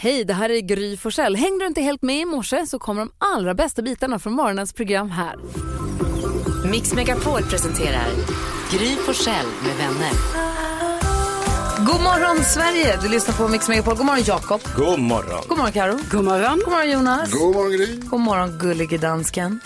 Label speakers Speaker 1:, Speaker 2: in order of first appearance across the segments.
Speaker 1: Hej, det här är Gry Forssell. Hängde du inte helt med i morse så kommer de allra bästa bitarna från morgonens program här.
Speaker 2: Mix Megapol presenterar Gry Forssell med vänner.
Speaker 1: God morgon Sverige! Du lyssnar på Mix Megapol. God morgon Jakob.
Speaker 3: God morgon.
Speaker 1: God morgon Karo. God morgon. God morgon Jonas.
Speaker 4: God morgon Gry.
Speaker 1: God morgon gullige dansken.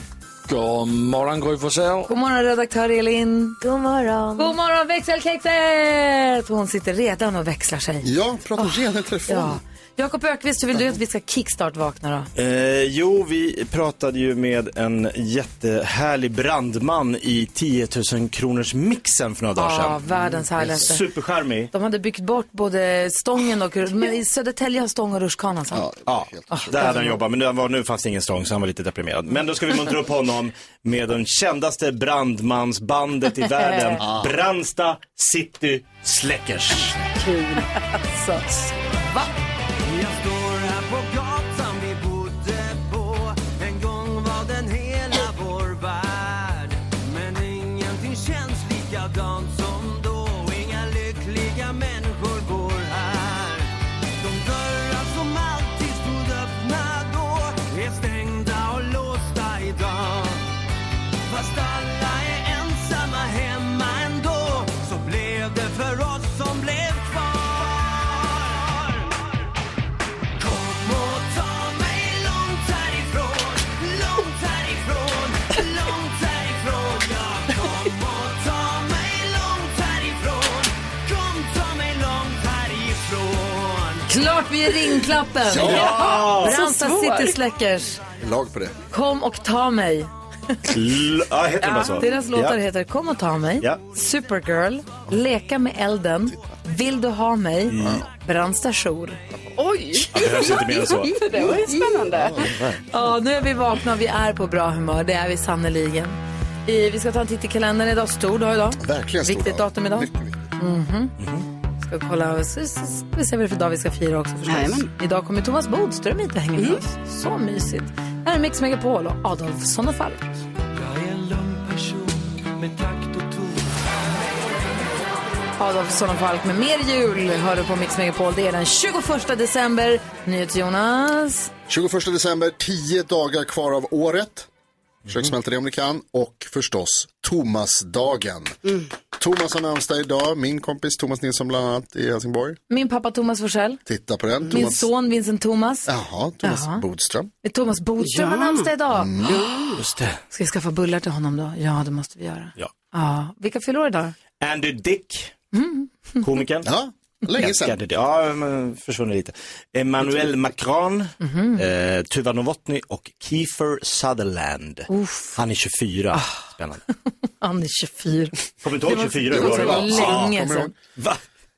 Speaker 3: God morgon Gry Forssell.
Speaker 1: God morgon redaktör Elin.
Speaker 5: God morgon.
Speaker 1: God morgon växelkexet! Hon sitter redan och växlar sig.
Speaker 4: Ja, pratar redan i telefon.
Speaker 1: Ja. Jakob Ökvist, hur vill du att vi ska kickstart-vakna då?
Speaker 6: Eh, jo, vi pratade ju med en jättehärlig brandman i 10 000 kronors mixen för några dagar
Speaker 1: Ja,
Speaker 6: sedan.
Speaker 1: Ah, världens härligaste.
Speaker 6: Supercharmig.
Speaker 1: De hade byggt bort både stången och... Men i Södertälje har stång och rutschkana. alltså.
Speaker 6: Ja, där hade han jobbat, men nu, var, nu fanns det ingen stång så han var lite deprimerad. Men då ska vi muntra upp honom med den kändaste brandmansbandet i världen, Brandsta City Släckers.
Speaker 7: Jag står här på gatan vi bodde på En gång var den hela vår värld Men ingenting känns likadant som då Inga lyckliga människor går här De dörrar som alltid stod öppna då Är stängda och låsta idag Fast alla är ensamma hemma ändå Så blev det för oss som blev kvar Kom och ta mig långt härifrån, långt härifrån, långt härifrån Ja, kom och ta mig långt härifrån, kom ta mig långt härifrån
Speaker 1: Klart vi är ringklappen!
Speaker 6: Ja!
Speaker 1: Branta City Släckers.
Speaker 4: Lag på det.
Speaker 1: Kom och ta mig.
Speaker 6: L- ja, heter den bara så?
Speaker 1: Deras låtar
Speaker 6: ja.
Speaker 1: heter Kom och ta mig,
Speaker 6: Ja.
Speaker 1: Supergirl, Leka med elden, Vill du ha mig,
Speaker 6: Mm.
Speaker 1: Brandsta jour.
Speaker 5: Oj!
Speaker 6: Det behövs inte mer än så. Mm.
Speaker 5: Det var ju spännande.
Speaker 1: Ja, nu är vi vakna och vi är på bra humör, det är vi sannerligen. I- Vi ska ta en titt i kalendern idag, stor dag idag.
Speaker 4: Verkligen stor
Speaker 1: Viktigt
Speaker 4: dag.
Speaker 1: datum idag. Mhm.
Speaker 4: Mycket viktigt.
Speaker 1: Ska kolla, så- så- så ska vi se vad det är för dag vi ska fira också förstås.
Speaker 5: Jajamän.
Speaker 1: Idag kommer Thomas Bodström hit och hänger med oss. Så mysigt. Här är Mix Megapol och Adolfsson och Falk.
Speaker 7: Jag är en lugn person med takt och ton
Speaker 1: Adolfsson och Falk med mer jul hör du på Mix Megapol. Det är den 21 december. NyhetsJonas.
Speaker 4: 21 december, 10 dagar kvar av året.
Speaker 6: Mhm.
Speaker 4: Försök smälta det om ni kan. Och förstås Thomasdagen. Thomas har namnsdag idag. Min kompis Thomas Nilsson bland annat i Helsingborg.
Speaker 1: Min pappa Thomas Forsell.
Speaker 4: Titta på den.
Speaker 1: Min
Speaker 4: Thomas...
Speaker 1: son Vincent Thomas.
Speaker 4: Jaha, Thomas
Speaker 1: Jaha.
Speaker 4: Bodström.
Speaker 1: Thomas Bodström har namnsdag idag.
Speaker 4: Mm.
Speaker 6: Just det.
Speaker 1: Ska vi skaffa bullar till honom då? Ja, det måste vi göra.
Speaker 6: Ja.
Speaker 1: Ja. Vilka fyller år idag?
Speaker 6: Andy Dick, komikern.
Speaker 4: Mm. Ja, länge sedan.
Speaker 6: Älskade det. Ja, men försvunnit lite. Emmanuel Macron,
Speaker 4: Mhm.
Speaker 6: eh, Tuva Novotny och Kiefer Sutherland. Han är 24.
Speaker 4: Ah.
Speaker 6: Spännande.
Speaker 1: Han är 24.
Speaker 6: Kommer du inte ihåg 24?
Speaker 4: det
Speaker 6: hur
Speaker 4: var
Speaker 6: det
Speaker 4: så
Speaker 6: var?
Speaker 4: länge. Ja,
Speaker 1: Länge
Speaker 4: kommer
Speaker 1: sedan.
Speaker 6: Va?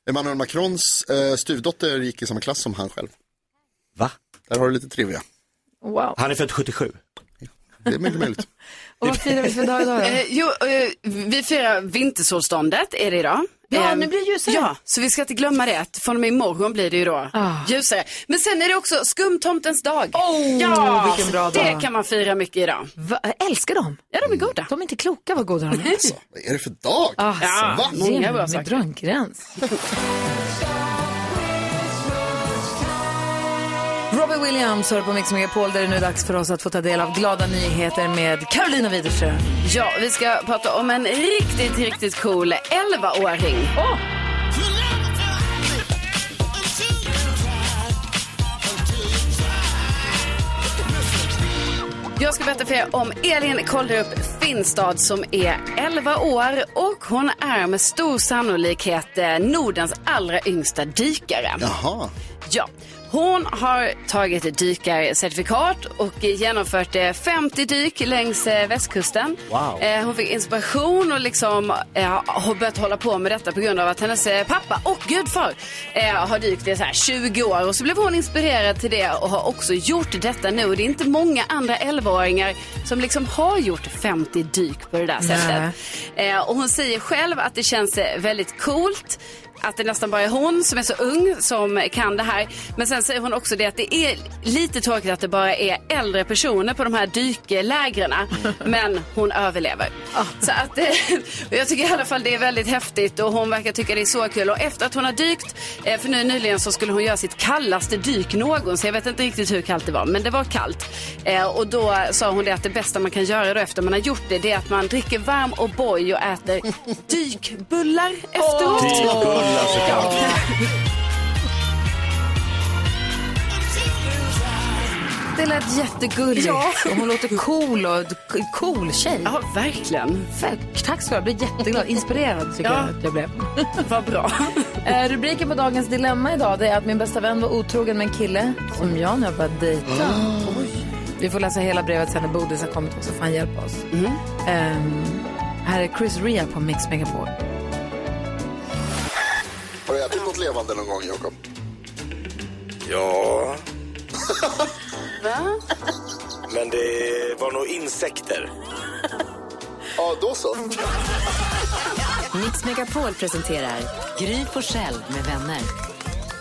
Speaker 4: Emmanuel Macrons eh, styvdotter gick i samma klass som han själv.
Speaker 6: Va?
Speaker 4: Där har du lite trivia.
Speaker 1: Wow.
Speaker 6: Han är född 77.
Speaker 4: Det är mycket möjligt.
Speaker 1: Och vad firar vi för dag idag då?
Speaker 5: Eh, jo, eh, vi firar vintersolståndet, är det idag.
Speaker 1: Ja,
Speaker 5: Eh,
Speaker 1: nu blir det ljusare.
Speaker 5: Ja, så vi ska inte glömma det. att Från och med imorgon blir det ju då
Speaker 1: Ah.
Speaker 5: ljusare. Men sen är det också skumtomtens dag.
Speaker 1: Oh,
Speaker 5: ja,
Speaker 1: vilken bra
Speaker 5: så
Speaker 1: dag.
Speaker 5: Det kan man fira mycket idag.
Speaker 1: Va? Jag älskar dem.
Speaker 5: Ja, de är goda.
Speaker 1: De är inte kloka vad goda de är.
Speaker 4: Alltså, vad är det för dag?
Speaker 1: Ah,
Speaker 5: Ja,
Speaker 4: Va?
Speaker 5: många bra
Speaker 1: Med
Speaker 5: saker.
Speaker 1: drömgräns. Robbie Williams hör på Mix Megapol där det nu är dags för oss att få ta del av glada nyheter med Carolina Widerström.
Speaker 5: Ja, vi ska prata om en riktigt, riktigt cool 11-åring. Jag ska berätta för er om Elin Kolderup Finnstad som är 11 år och hon är med stor sannolikhet eh, Nordens allra yngsta dykare.
Speaker 4: Jaha.
Speaker 5: Ja, hon har tagit ett dykarcertifikat och genomfört eh, 50 dyk längs eh, västkusten.
Speaker 6: Wow.
Speaker 5: Eh, Hon fick inspiration och liksom eh, har börjat hålla på med detta på grund av att hennes eh, pappa och gudfar eh, har dykt i så här 20 år och så blev hon inspirerad till det och har också gjort detta nu. Och Det är inte många andra 11-åringar som liksom har gjort 50 dyk på det där sättet.
Speaker 1: Nej.
Speaker 5: Eh, och hon säger själv att det känns eh, väldigt coolt att det nästan bara är hon som är så ung som kan det här. Men sen säger hon också det att det är lite tråkigt att det bara är äldre personer på de här dyklägren. Men hon överlever. Så att, eh, och jag tycker i alla fall det är väldigt häftigt och hon verkar tycka det är så kul. Och efter att hon har dykt, eh, för nu nyligen så skulle hon göra sitt kallaste dyk någonsin. Jag vet inte riktigt hur kallt det var, men det var kallt. Eh, och då sa hon det att det bästa man kan göra då efter man har gjort det, det är att man dricker varm och och äter dykbullar efteråt.
Speaker 6: Dykbullar
Speaker 7: alltså,
Speaker 6: såklart.
Speaker 1: Det lät jättegulligt.
Speaker 5: Ja.
Speaker 1: Och hon låter cool och k- cool tjej.
Speaker 5: Ja, verkligen.
Speaker 1: Tack, Tack ska du ha. Jag blir jätteglad. Inspirerad tycker
Speaker 5: Ja.
Speaker 1: jag att jag blev.
Speaker 5: Vad bra.
Speaker 1: Eh, rubriken på dagens dilemma idag det är att min bästa vän var otrogen med en kille som jag nu har börjat dejta. Vi får läsa hela brevet sen när Bodis har kommit och så får han hjälpa oss. Ehm, här är Chris Rea på Mix Megapol.
Speaker 4: Har du ätit något levande någon gång, Jakob?
Speaker 6: Ja. Men det var nog insekter.
Speaker 4: Ja, då så.
Speaker 2: Mix Megapol presenterar Gry Forssell med vänner.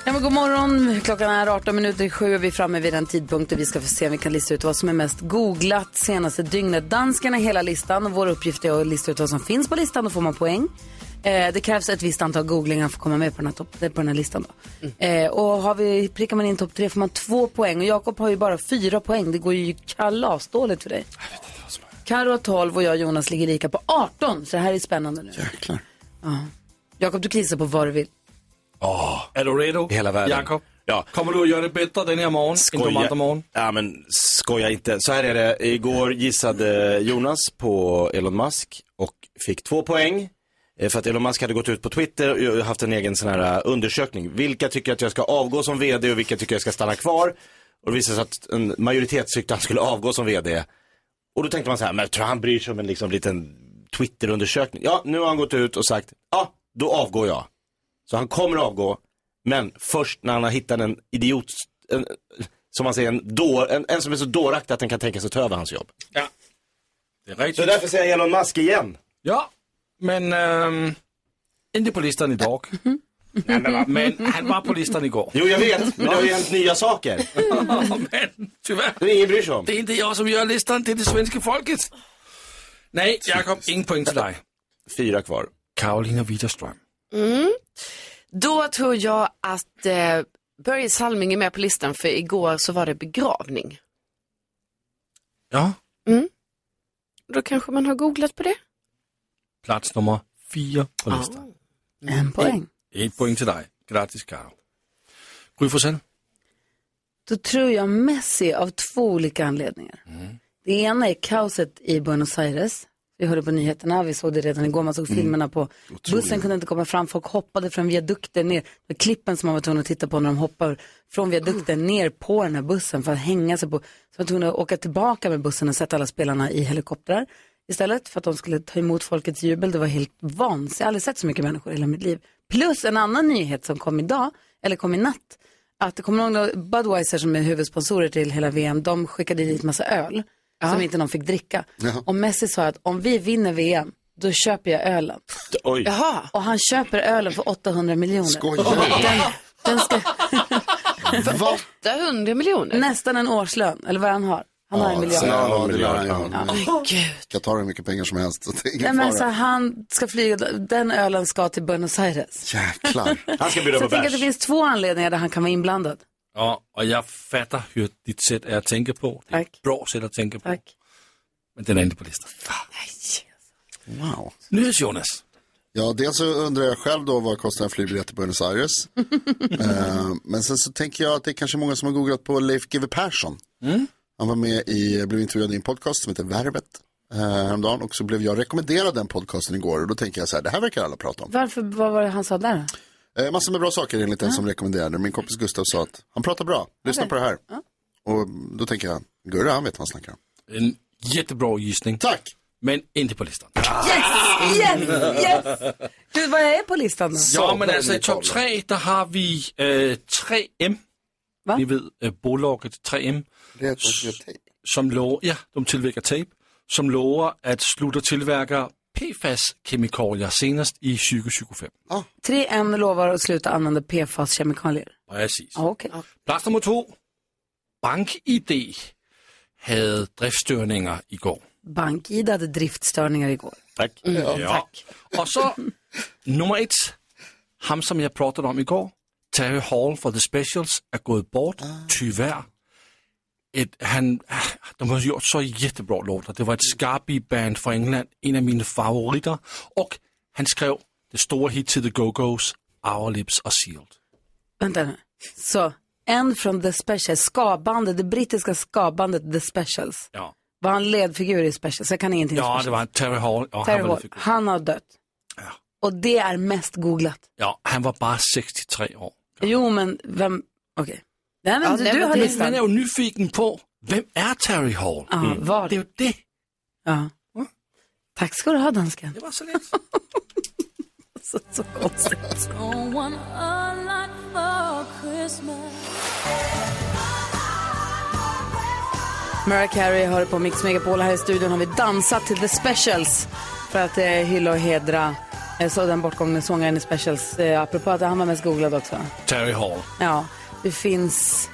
Speaker 1: Ja, men god morgon. Klockan är 18 minuter i sju och vi är framme vid den tidpunkten vi ska få se om vi kan lista ut vad som är mest googlat senaste dygnet. Danskarna hela listan och vår uppgift är att lista ut vad som finns på listan. Då får man poäng. Eh, det krävs ett visst antal googlingar för att komma med på den här, topp- på den här listan. Då. Eh, och har vi, prickar man in topp tre får man två poäng och Jakob har ju bara fyra poäng. Det går ju kalasdåligt för dig. Karo har 12 och jag och Jonas ligger lika på 18 så det här är spännande nu.
Speaker 4: Jäklar.
Speaker 1: Jakob du kan gissa på vad du vill.
Speaker 8: Är du redo?
Speaker 6: Hela världen.
Speaker 8: Jakob?
Speaker 6: Ja.
Speaker 8: Kommer du att göra det bättre den här morgonen än de andra morgon?
Speaker 6: Ja men skoja inte. Så här är det. Igår gissade Jonas på Elon Musk och fick två poäng. Eh, För att Elon Musk hade gått ut på Twitter och haft en egen sån här eh, undersökning. Vilka tycker att jag ska avgå som vd och vilka tycker jag ska stanna kvar? Och det visade sig att en majoritet tyckte att han skulle avgå som vd. Och då tänkte man så här, men jag tror han bryr sig om en liksom, liten Twitter-undersökning. Ja, nu har han gått ut och sagt, ja, då avgår jag. Så han kommer avgå, men först när han har hittat en idiot, en, som man säger, en, då, en, en som är så dåraktig att den kan tänka sig att ta över hans jobb.
Speaker 8: Ja. Det är
Speaker 6: Så
Speaker 8: riktigt.
Speaker 6: därför säger jag Elon Musk igen.
Speaker 8: Ja, men ehm, inte på listan idag. Nej, men, va- men han var på listan igår.
Speaker 6: Jo, jag vet, men det har ju hänt nya saker.
Speaker 8: men tyvärr,
Speaker 6: Det är ingen bryr sig om.
Speaker 8: det är inte jag som gör listan, det är det svenska folket. Nej, Jakob, ingen poäng till dig.
Speaker 6: Fyra kvar.
Speaker 8: Karolina Widerström.
Speaker 5: Mm. Då tror jag att eh, Börje Salming är med på listan för igår så var det begravning. Mm.
Speaker 8: Ja,
Speaker 5: Då kanske man har googlat på det.
Speaker 8: plats nummer fyra på listan.
Speaker 1: En
Speaker 5: Mm.
Speaker 1: poäng.
Speaker 8: Ett poäng till dig. Grattis, Karol. Gry Forssell.
Speaker 1: Då tror jag Messi av två olika anledningar. Det ena är kaoset i Buenos Aires. Vi hörde på nyheterna, vi såg det redan igår, man såg filmerna på. Bussen kunde inte komma fram, folk hoppade från viadukten ner. Det var klippen som man var tvungen att titta på när de hoppar från viadukten ner på den här bussen för att hänga sig på. Så man var tvungen att åka tillbaka med bussen och sätta alla spelarna i helikoptrar istället för att de skulle ta emot folkets jubel. Det var helt vansinnigt, jag har aldrig sett så mycket människor i hela mitt liv. Plus en annan nyhet som kom idag, eller kom i natt, att kommer du ihåg då Budweiser som är huvudsponsorer till hela VM, de skickade dit massa öl som inte någon fick dricka. Och Messi sa att om vi vinner VM, då köper jag ölen.
Speaker 6: Oj.
Speaker 5: Jaha,
Speaker 1: Och han köper ölen för 800 miljoner.
Speaker 4: Skojar du?
Speaker 1: Den, den ska,
Speaker 4: Va?
Speaker 5: 800 miljoner.
Speaker 1: nästan en årslön, eller vad han har. Han har en miljard.
Speaker 4: Ja, det lär han ju ha.
Speaker 5: Men gud.
Speaker 4: Qatar har hur mycket pengar som helst, så det är
Speaker 1: Nej,
Speaker 4: ingen
Speaker 1: men alltså,
Speaker 4: fara.
Speaker 1: han ska flyga, den ölen ska till Buenos Aires.
Speaker 4: Jäklar.
Speaker 6: Han ska
Speaker 1: Så
Speaker 6: bjuda på
Speaker 1: jag tänker att det
Speaker 6: bärs.
Speaker 1: finns två anledningar där han kan vara inblandad.
Speaker 8: Ja, och jag fattar hur ditt sätt är att tänka på. Det är
Speaker 1: Tack.
Speaker 8: ett bra sätt att tänka på.
Speaker 1: Tack.
Speaker 8: Men den är inte på listan.
Speaker 4: Wow.
Speaker 8: Nyhets Jonas.
Speaker 4: Ja, dels så undrar jag själv då vad kostar en flygbiljett till Buenos Aires. eh, men sen så tänker jag att det är kanske många som har googlat på Leif GW Persson. Han var med i, blev intervjuad i en podcast som heter Värvet eh, häromdagen och så blev jag rekommenderad den podcasten igår och då tänker jag så här, det här verkar alla prata om.
Speaker 1: Varför, vad var det han sa där?
Speaker 4: Eh, massor med bra saker enligt den som rekommenderade. Min kompis Gustav sa att han pratar bra, lyssna på det här. Och då tänker jag, Gurra han vet vad han snackar om.
Speaker 8: En jättebra gissning,
Speaker 4: Tack!
Speaker 8: men inte på listan.
Speaker 1: Yes, yes, yes! Gud, vad är på listan då?
Speaker 8: Ja, men alltså i topp tre, där har vi eh, 3M.
Speaker 1: Va?
Speaker 8: Ni vet, eh, bolaget 3M
Speaker 4: Det är ett tejp.
Speaker 8: som lovar, ja, de tillverkar tejp, som lovar att sluta tillverka PFAS-kemikalier senast i 2025.
Speaker 1: 3N lovar att sluta använda PFAS-kemikalier.
Speaker 8: Precis.
Speaker 1: Ja, Okej.
Speaker 8: Plats nummer två. BankID havde driftstörningar igår.
Speaker 1: BankID hade driftstörningar igår.
Speaker 8: Tack.
Speaker 1: Mm,
Speaker 8: ja. Och så nummer ett, han som jag pratade om igår, Terry Hall för The Specials, är gått bort, tyvärr. Ett, han, ah, de har gjort så jättebra låtar. Det var ett Scarby-band från England, en av mina favoriter. Och han skrev det stora hit till The Go-Go's, Our Lips Are Sealed.
Speaker 1: Vänta nu. Så, en från The Specials, ska-bandet, det brittiska ska-bandet The Specials.
Speaker 8: Ja,
Speaker 1: Var han ledfigur i Specials? Jag kan ingenting om
Speaker 8: ja
Speaker 1: Specials.
Speaker 8: det var Terry Hall. Ja,
Speaker 1: Terry
Speaker 8: han, var
Speaker 1: Hall.
Speaker 8: lite-
Speaker 1: Han har dött. Och det är mest googlat.
Speaker 8: ja, han var bara 63 år.
Speaker 1: Jo, men vem... Okej. Nej, men
Speaker 5: Ja,
Speaker 1: du,
Speaker 5: nej,
Speaker 1: du
Speaker 5: men
Speaker 1: har
Speaker 5: det-
Speaker 1: listan.
Speaker 8: Man är ju nyfiken på, vem är Terry Hall?
Speaker 5: Ah,
Speaker 1: Ja, var
Speaker 8: Mm. Det är ju det. Mm.
Speaker 1: Ja. Tack ska du ha, dansken.
Speaker 8: Det var så lätt.
Speaker 1: Så, så konstigt. Mariah Carey hör på Mix Megapol. Här i studion har vi dansat till The Specials för att eh, hylla och hedra eh, så den bortgångne sångaren i Specials. Eh, apropå att han var mest googlad också.
Speaker 8: Terry Hall.
Speaker 1: Ja, det finns,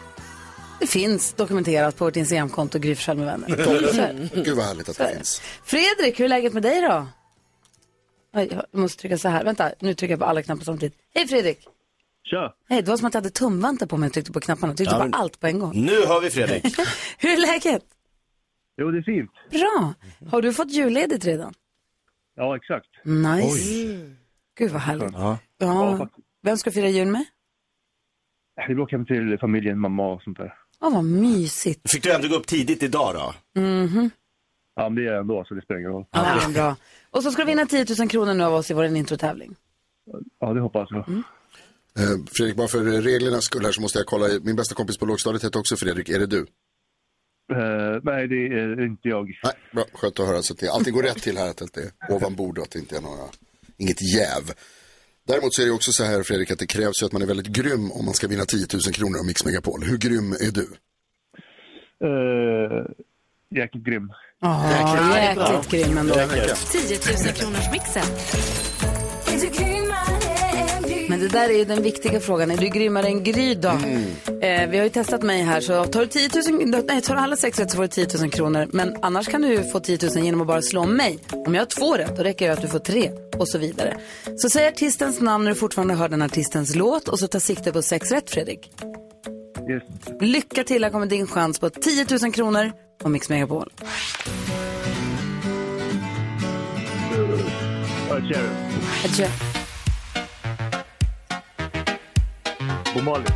Speaker 1: det finns dokumenterat på vårt Instagramkonto, Gry Forssell med vänner. Mm. Så är det.
Speaker 4: Gud vad härligt att det finns.
Speaker 1: Fredrik, hur är läget med dig då? Oj, Jag måste trycka så här. Vänta, nu trycker jag på alla knappar samtidigt. Hej Fredrik!
Speaker 9: Tja,
Speaker 1: Hej, det var som att jag hade tumvantar på mig och tryckte på knapparna. Jag Tryckte på allt på en gång.
Speaker 6: Nu hör vi Fredrik.
Speaker 1: Hur är läget?
Speaker 9: jo det är fint.
Speaker 1: Bra! Har du fått julledigt redan?
Speaker 9: Ja exakt.
Speaker 1: Nice. Gud vad härligt. Ja. Vem ska du fira jul med?
Speaker 9: Vi åker hem till familjen, mamma och sånt där.
Speaker 1: Åh, vad mysigt. Mhm.
Speaker 6: Fick du ändå gå upp tidigt idag då?
Speaker 9: Ja men det är jag ändå så det spelar ingen roll.
Speaker 1: Ja, men bra. Och så ska du vinna 10 000 kronor nu av oss i vår introtävling.
Speaker 9: Ja det hoppas jag.
Speaker 4: Eh, Fredrik, bara för reglernas skull här så måste jag kolla. Min bästa kompis på lågstadiet heter också Fredrik. Är det du?
Speaker 9: Eh, nej det är inte jag.
Speaker 4: Nej, bra. Skönt att höra. Så att det, allting går rätt till här, att det inte är ovan bord och att det inte är några, inget jäv. Däremot så är det också så här Fredrik att det krävs ju att man är väldigt grym om man ska vinna 10 000 kronor av Mix Megapol. Hur grym är du?
Speaker 9: Eh, jäkligt grym.
Speaker 1: Ja, jäkligt grym ändå.
Speaker 2: 10 000 kronors mixen.
Speaker 1: Men det där är ju den viktiga frågan. Är du grymmare än Gry då? Eh, vi har ju testat mig här. Så tar du, 10 000, nej, tar du alla sex rätt så får du 10 000 kronor. Men annars kan du ju få 10 000 genom att bara slå mig. Om jag har två rätt då räcker det att du får tre och så vidare. Så säg artistens namn när du fortfarande hör den artistens låt och så ta sikte på sex rätt Fredrik.
Speaker 9: Yes.
Speaker 1: Lycka till, här kommer din chans på 10 000 kronor på Mix Megapol.
Speaker 9: Ja, Cherry.
Speaker 1: Adjö.
Speaker 9: Bob Marley.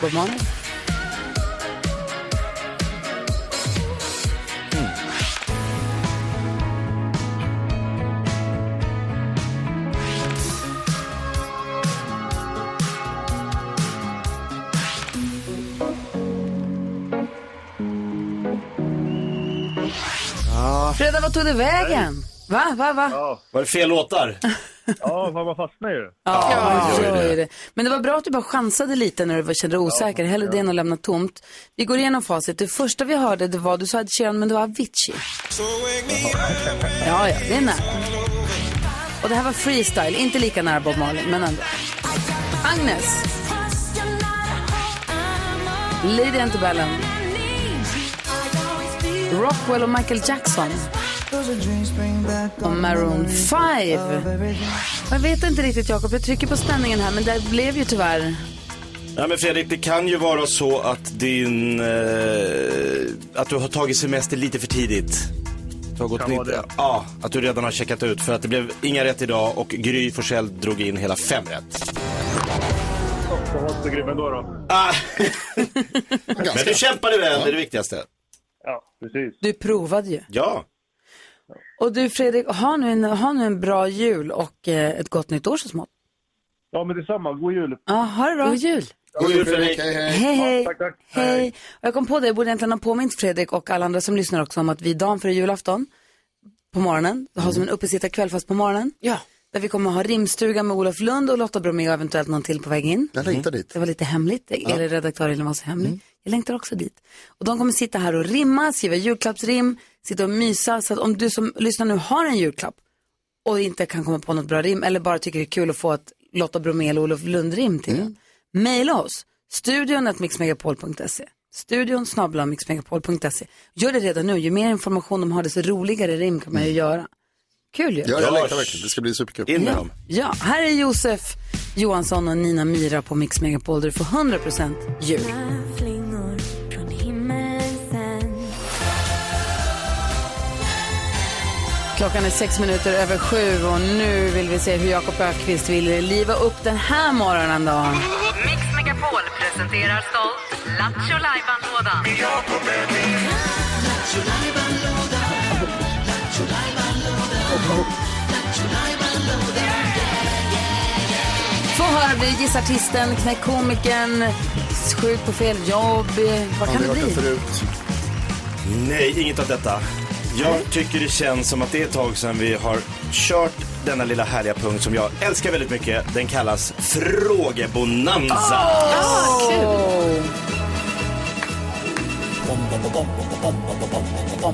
Speaker 1: God morgon. Fredag, vad tog du vägen? Va, va, va?
Speaker 6: Var det fel låtar?
Speaker 9: Ja fan, man fastnar ju.
Speaker 1: Ja, gör det. Men det var bra att du bara chansade lite när du var- kände dig osäker. Hellre det än att lämna tomt. Vi går igenom facit. Det första vi hörde det var, du sa Ed Sheeran, men det var Avicii. Ja, ja, det är nära. Och det här var freestyle, inte lika nära Bob Marley, men ändå. Agnes, Lady Antebellum, Rockwell och Michael Jackson. Och Maroon 5. Jag vet inte riktigt Jakob, jag trycker på spänningen här men det blev ju tyvärr...
Speaker 6: Nej men Fredrik, det kan ju vara så att din... Eh, att du har tagit semester lite för tidigt. Du har gått
Speaker 9: Kan vara
Speaker 6: lite-
Speaker 9: det.
Speaker 6: Ja, att du redan har checkat ut för att det blev inga rätt idag och Gry Forssell drog in hela fem rätt.
Speaker 9: Jag var inte så grym ändå då.
Speaker 6: Ah, men
Speaker 4: Ganska.
Speaker 6: du kämpade väl, det är det viktigaste.
Speaker 9: Ja precis.
Speaker 1: Du provade ju.
Speaker 6: Ja.
Speaker 1: Och du Fredrik, ha nu en, ha nu en bra jul och eh, ett gott nytt år så smått.
Speaker 9: Ja men detsamma, god jul.
Speaker 1: Ja, ha det bra. God jul.
Speaker 6: God jul Fredrik.
Speaker 4: Hej, hej.
Speaker 1: Hej, hej.
Speaker 9: tack, tack.
Speaker 1: Hej. Och jag kom på det, jag borde egentligen ha påmint Fredrik och alla andra som lyssnar också om att vi dagen före julafton på morgonen,
Speaker 4: Mm.
Speaker 1: har som en uppesittarkväll fast på morgonen.
Speaker 5: Ja.
Speaker 1: Där vi kommer ha rimstuga med Olof Lund och Lotta Bromé och eventuellt någon till på väg in. Mm.
Speaker 4: Jag längtar dit. Mm.
Speaker 1: Det var lite hemligt. Eller redaktör Elin var så hemlig. Jag längtar också dit. Och de kommer sitta här och rimma, skriva julklappsrim, sitta och mysa. Så att om du som lyssnar nu har en julklapp och inte kan komma på något bra rim eller bara tycker det är kul att få ett Lotta Bromé eller Olof Lund-rim till mm. Maila oss, studion at mixmegapol.se. Studion snabbla mixmegapol.se. Gör det redan nu, ju mer information de har desto roligare rim kan man ju göra. Kul ju.
Speaker 4: Mm. Ja, jag längtar verkligen. Det ska bli superkul.
Speaker 6: In med
Speaker 4: Ja.
Speaker 6: dem.
Speaker 1: Ja, här är Josef Johansson och Nina Mira på Mix Megapol där du får 100% jul. Klockan är sex minuter över sju och nu vill vi se hur Jakob Ökvist vill liva upp den här morgonen då.
Speaker 2: Mix Megapol presenterar stolt Lattjo Lajban-lådan.
Speaker 1: Få höra blir det gissartisten, knäck komikern, sjuk på fel jobb. Vad
Speaker 4: Har
Speaker 1: kan det
Speaker 4: ni hört den
Speaker 1: bli?
Speaker 4: förut?
Speaker 6: Nej, inget av detta. Jag tycker det känns som att det är ett tag sedan vi har kört denna lilla härliga punkt som jag älskar väldigt mycket. Den kallas frågebonanza.
Speaker 1: Ah,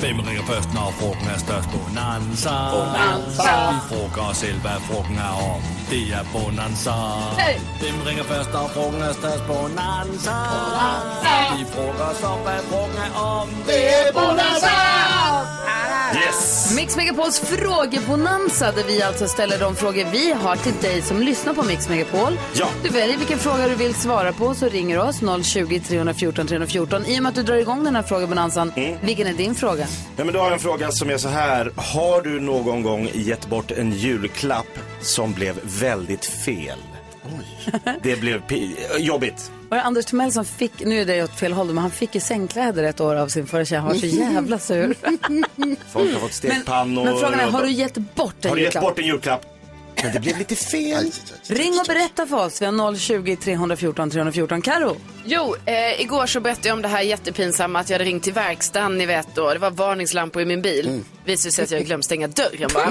Speaker 7: Vem ringer först när frågan är störst? Bonanza. Vi frågar oss själva vad frågan är om. Det är bonanza. Vem ringer först när frågan är störst? Bonanza. Vi frågar oss vad frågan är om. Det är bonanza.
Speaker 6: Yes!
Speaker 1: Ah. Mix Megapols frågebonanza där vi alltså ställer de frågor vi har till dig som lyssnar på Mix Megapol.
Speaker 6: Ja.
Speaker 1: Du väljer vilken fråga du vill svara på så ringer du oss 020 314 314. I och med att du drar igång den här frågebonanzan,
Speaker 6: Mm.
Speaker 1: vilken är din fråga?
Speaker 6: Nej, men då har jag en fråga som är så här. Har du någon gång gett bort en julklapp som blev väldigt fel? Det blev pi- jobbigt.
Speaker 1: Var det Anders Timell som fick, nu är det åt fel håll, men han fick ju sängkläder ett år av sin förra tjej. Han var så jävla sur.
Speaker 6: Folk har fått
Speaker 1: Mm. men,
Speaker 6: stekpannor.
Speaker 1: men frågan är, har du
Speaker 6: gett,
Speaker 1: gett bort en
Speaker 6: har du gett
Speaker 1: julklapp?
Speaker 6: bort en julklapp? Men det blev lite fel.
Speaker 1: Ring och berätta för oss. Vi har 020 314 314. Karo.
Speaker 5: Jo, eh, igår så berättade jag om det här jättepinsamma att jag hade ringt till verkstaden, ni vet då. Det var varningslampor i min bil.
Speaker 4: Mm.
Speaker 5: Visade sig att jag hade glömt stänga dörren bara. eh,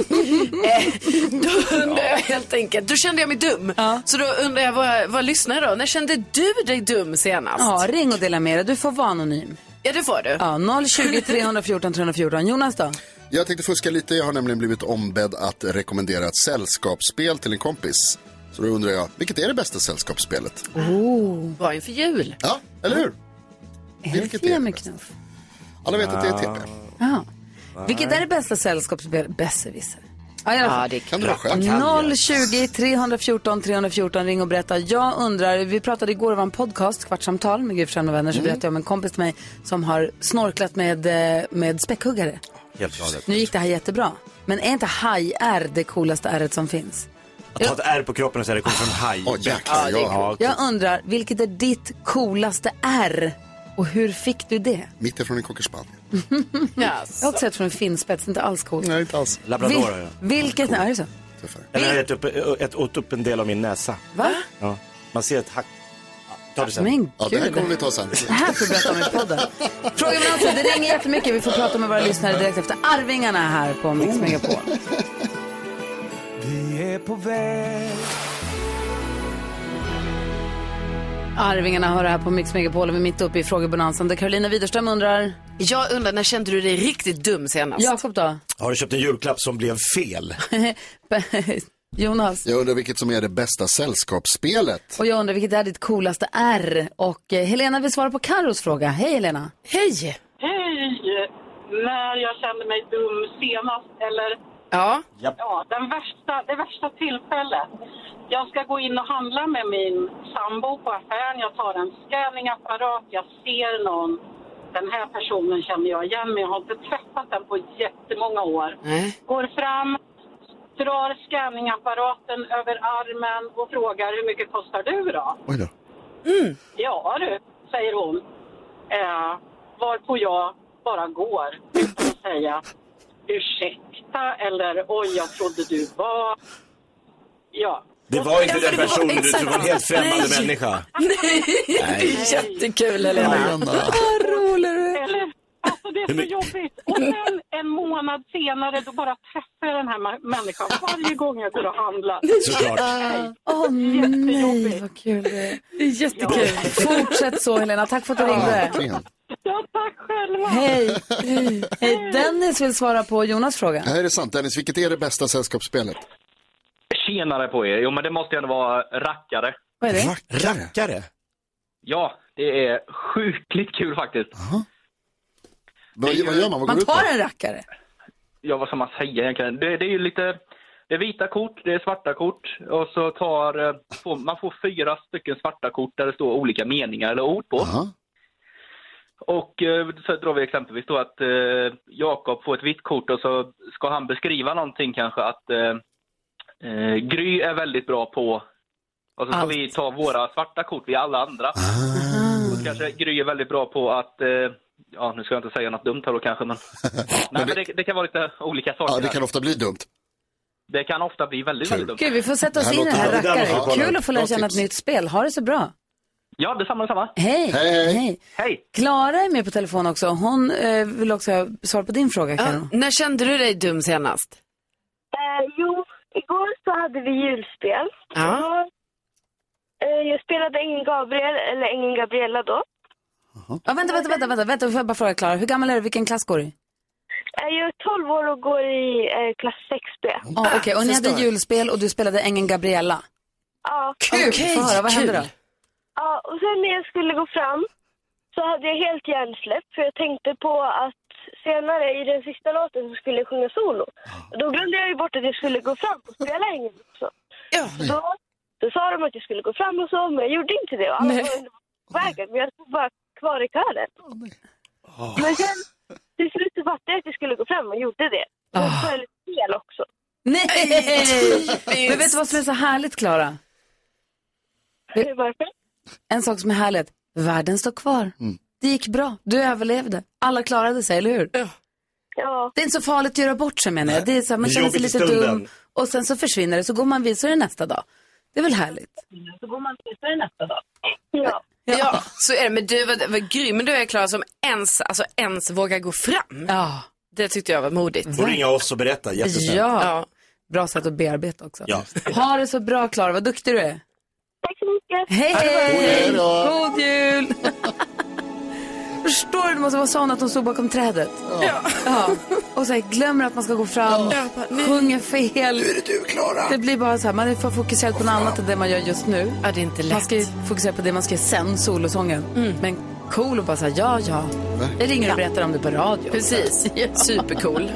Speaker 5: då undrar jag helt enkelt, då kände jag mig dum. Så då undrar jag, vad, vad lyssnar jag då? När kände du dig dum senast?
Speaker 1: Ja, ring och dela med dig. Du får vara anonym.
Speaker 5: Ja, det får du.
Speaker 1: Ja, 020 314 314. Jonas då?
Speaker 4: Jag tänkte fuska lite. Jag har nämligen blivit ombedd att rekommendera ett sällskapsspel till en kompis. Så då undrar jag, vilket är det bästa sällskapsspelet?
Speaker 5: Bra inför jul.
Speaker 4: Ja, eller hur?
Speaker 1: Är det
Speaker 4: Vilket är det
Speaker 1: Fia
Speaker 4: bäst?
Speaker 1: knuff?
Speaker 4: Alla vet att det är TP.
Speaker 1: Ja. Vilket är det bästa sällskapsspelet? Besserwisser. Ja, i alla fall.
Speaker 5: Ja, det är
Speaker 4: Kan du det själv?
Speaker 1: 020 314 314, ring och berätta. Jag undrar, vi pratade igår om en podcast, Kvartsamtal med Gry Forssell med
Speaker 4: Mm.
Speaker 1: vänner, så berättade jag om en kompis till mig som har snorklat med, eh, med späckhuggare.
Speaker 6: Helt galet.
Speaker 1: Nu gick det här jättebra, men är inte haj-r det coolaste ärret som finns?
Speaker 6: Att ta ett ärr på kroppen och säga det kommer från haj.
Speaker 4: Åh, jäklar. Ja,
Speaker 1: Jag undrar, vilket är ditt coolaste R? Och hur fick du det?
Speaker 4: mitt ifrån en cocker spaniel.
Speaker 1: Jag har också sett från en finspets, inte alls coolt.
Speaker 4: Nej, inte alls.
Speaker 6: Labrador har jag.
Speaker 1: vilket, är det så?
Speaker 4: Tuffare.
Speaker 6: Eller jag ätit upp, ett, åt upp en del av min näsa.
Speaker 1: Va?
Speaker 6: Ja. Man ser ett hack. Ja, Ta det sen.
Speaker 1: Men
Speaker 4: Ja, det här
Speaker 1: gud.
Speaker 4: kommer vi ta sen.
Speaker 1: Det här får du berätta om i podden. Fråga mig alltså, det ringer jättemycket. Vi får prata med våra lyssnare direkt efter Arvingarna här på Mix Megapol.
Speaker 7: Vi är på väg.
Speaker 1: Arvingarna hör det här på Mix Megapol och vi är mitt uppe i frågebonansen där Carolina Widerström undrar.
Speaker 5: Jag undrar, när kände du dig riktigt dum senast?
Speaker 1: Jakob då?
Speaker 6: Har du köpt en julklapp som blev fel?
Speaker 1: Jonas?
Speaker 4: Jag undrar vilket som är det bästa sällskapsspelet.
Speaker 1: Och jag undrar vilket är ditt coolaste R? Och eh, Helena vill svara på Carros fråga. Hej Helena!
Speaker 5: Hej!
Speaker 10: Hej! När jag kände mig dum senast, eller
Speaker 5: Ja,
Speaker 10: ja, den värsta, det värsta tillfället. Jag ska gå in och handla med min sambo på affären. Jag tar en scanningapparat, jag ser någon. Den här personen känner jag igen, men jag har inte träffat den på jättemånga år.
Speaker 5: Nej.
Speaker 10: Går fram, drar scanningapparaten över armen och frågar hur mycket kostar du då?
Speaker 4: Oj då.
Speaker 10: Ja du, säger hon. Eh, varpå jag bara går utan att säga ursäkta eller oj, jag trodde du var... Ja.
Speaker 6: Det var inte den
Speaker 5: var
Speaker 6: personen du
Speaker 5: exakt-
Speaker 6: trodde var en helt främmande
Speaker 5: Nej.
Speaker 6: människa.
Speaker 5: det är jättekul Helena.
Speaker 10: Eller, alltså det är så jobbigt. Och sen en månad senare då bara träffar jag den här ma- människan varje gång jag går och handlar.
Speaker 6: Såklart.
Speaker 1: Åh nej,
Speaker 10: Jättejobbigt.
Speaker 1: vad kul det är. Det är jättekul. Fortsätt så Helena, tack för att du ringde.
Speaker 4: Verkligen.
Speaker 10: Ja, tack.
Speaker 11: Tack själva.
Speaker 1: Hej! Hej, Dennis vill svara på Jonas fråga.
Speaker 12: Det här är sant. Dennis, vilket är det bästa sällskapsspelet?
Speaker 13: Tjenare på er. Jo, men det måste ju ändå vara rackare.
Speaker 1: Vad är det?
Speaker 6: Rackare?
Speaker 13: Ja, det är sjukligt kul faktiskt.
Speaker 12: Vad, vad gör man? Vad går
Speaker 1: Man
Speaker 12: det ut på?
Speaker 1: tar en rackare.
Speaker 13: Ja, vad ska man säga egentligen? Det, det är ju lite... Det är vita kort, det är svarta kort och så tar... eh, Får, man får fyra stycken svarta kort där det står olika meningar eller ord på.
Speaker 12: Jaha.
Speaker 13: Och eh, så drar vi exempelvis då att eh, Jakob får ett vitt kort och så ska han beskriva någonting kanske att eh, eh, Gry är väldigt bra på och så ska
Speaker 1: Allt.
Speaker 13: vi ta våra svarta kort, vi alla andra.
Speaker 12: Ah.
Speaker 13: Och så kanske Gry är väldigt bra på att, eh, ja nu ska jag inte säga något dumt här då kanske men, Nej, men det, det kan vara lite olika saker.
Speaker 12: Ja, det kan
Speaker 13: här.
Speaker 12: ofta bli dumt.
Speaker 13: det kan ofta bli väldigt, väldigt dumt.
Speaker 1: Gud, vi får sätta oss
Speaker 12: Det här
Speaker 1: in i den här
Speaker 12: låter
Speaker 6: bra. Det där
Speaker 1: rackaren.
Speaker 6: måste vi
Speaker 1: Kul att få lära
Speaker 12: Bra
Speaker 1: känna ett
Speaker 12: tips.
Speaker 1: nytt spel. Ha det så bra.
Speaker 13: Ja, detsamma, detsamma.
Speaker 1: Hej!
Speaker 12: Hej.
Speaker 13: Hej!
Speaker 1: Klara är med på telefon också. Hon eh, vill också ha svar på din fråga, Karo.
Speaker 5: När kände du dig dum senast?
Speaker 3: Eh, jo, igår så hade vi julspel.
Speaker 5: Ja.
Speaker 3: Och, eh, jag spelade Ingen Gabriel, eller Ingen Gabriella då.
Speaker 1: Ja, vänta, vänta, vänta, vänta, vänta, får jag bara fråga Klara. Hur gammal är du? Vilken klass går du i?
Speaker 3: Eh, jag är 12 år och går i eh, klass 6B.
Speaker 1: Ja, Ah, Okej, och ni hade
Speaker 5: förstår.
Speaker 1: julspel och du spelade Ängeln Gabriella.
Speaker 3: Ja.
Speaker 1: Kul! Okay, Få höra, vad hände då?
Speaker 5: kul.
Speaker 3: Ja, och sen när jag skulle gå fram så hade jag helt hjärnsläpp för jag tänkte på att senare i den sista låten så skulle jag sjunga solo. Och då glömde jag ju bort att jag skulle gå fram och spela ingen också.
Speaker 5: Ja.
Speaker 3: Så Då, då sa de att jag skulle gå fram och så, men jag gjorde inte det. Och alla var under vägen, men jag stod bara kvar i kören. Men sen till slut så fattade jag att jag skulle gå fram och gjorde det. Och så var jag lite fel också.
Speaker 1: Nej! Men vet du vad som är så härligt, Klara?
Speaker 3: Varför?
Speaker 1: En sak som är härligt. Världen står kvar.
Speaker 6: Mm.
Speaker 1: Det gick bra. Du överlevde. Alla klarade sig, eller hur?
Speaker 3: Ja,
Speaker 1: Det är inte så farligt att göra bort sig, menar jag. Det är så här, man känner sig
Speaker 6: Jobbigt i
Speaker 1: lite
Speaker 6: stunden.
Speaker 1: dum och sen så försvinner det, så går man vidare nästa dag. Det är väl härligt?
Speaker 11: Så går man till sig nästa dag.
Speaker 3: ja.
Speaker 5: Ja. så är det. Men du var, var grym. Men du är klar som ens, alltså ens vågar gå fram.
Speaker 1: Ja.
Speaker 5: Det tyckte jag var modigt.
Speaker 6: Får ringa oss och berätta, jättesnällt.
Speaker 1: ja.
Speaker 5: Ja.
Speaker 1: Bra sätt att bearbeta också.
Speaker 6: Ja.
Speaker 1: Ha det så bra, Klara. Vad duktig du är.
Speaker 3: Tack så mycket.
Speaker 1: Hej, hej!
Speaker 12: Hej då.
Speaker 1: God jul! Förstår du? Det måste vara sån att de stod bakom trädet. Ja. Och så här, glömmer att man ska gå fram, sjunger fel. Nu är det du, Klara. Det blir bara så här, man är för fokuserad på något annat än det man gör just nu.
Speaker 5: Ja, det är inte
Speaker 1: Man
Speaker 5: lätt. Mm.
Speaker 1: ska ju fokusera på det man ska göra sen, solosången. Men cool och bara säga ja, ja. Jag ringer och berättar om det på radio.
Speaker 5: Precis. Supercool.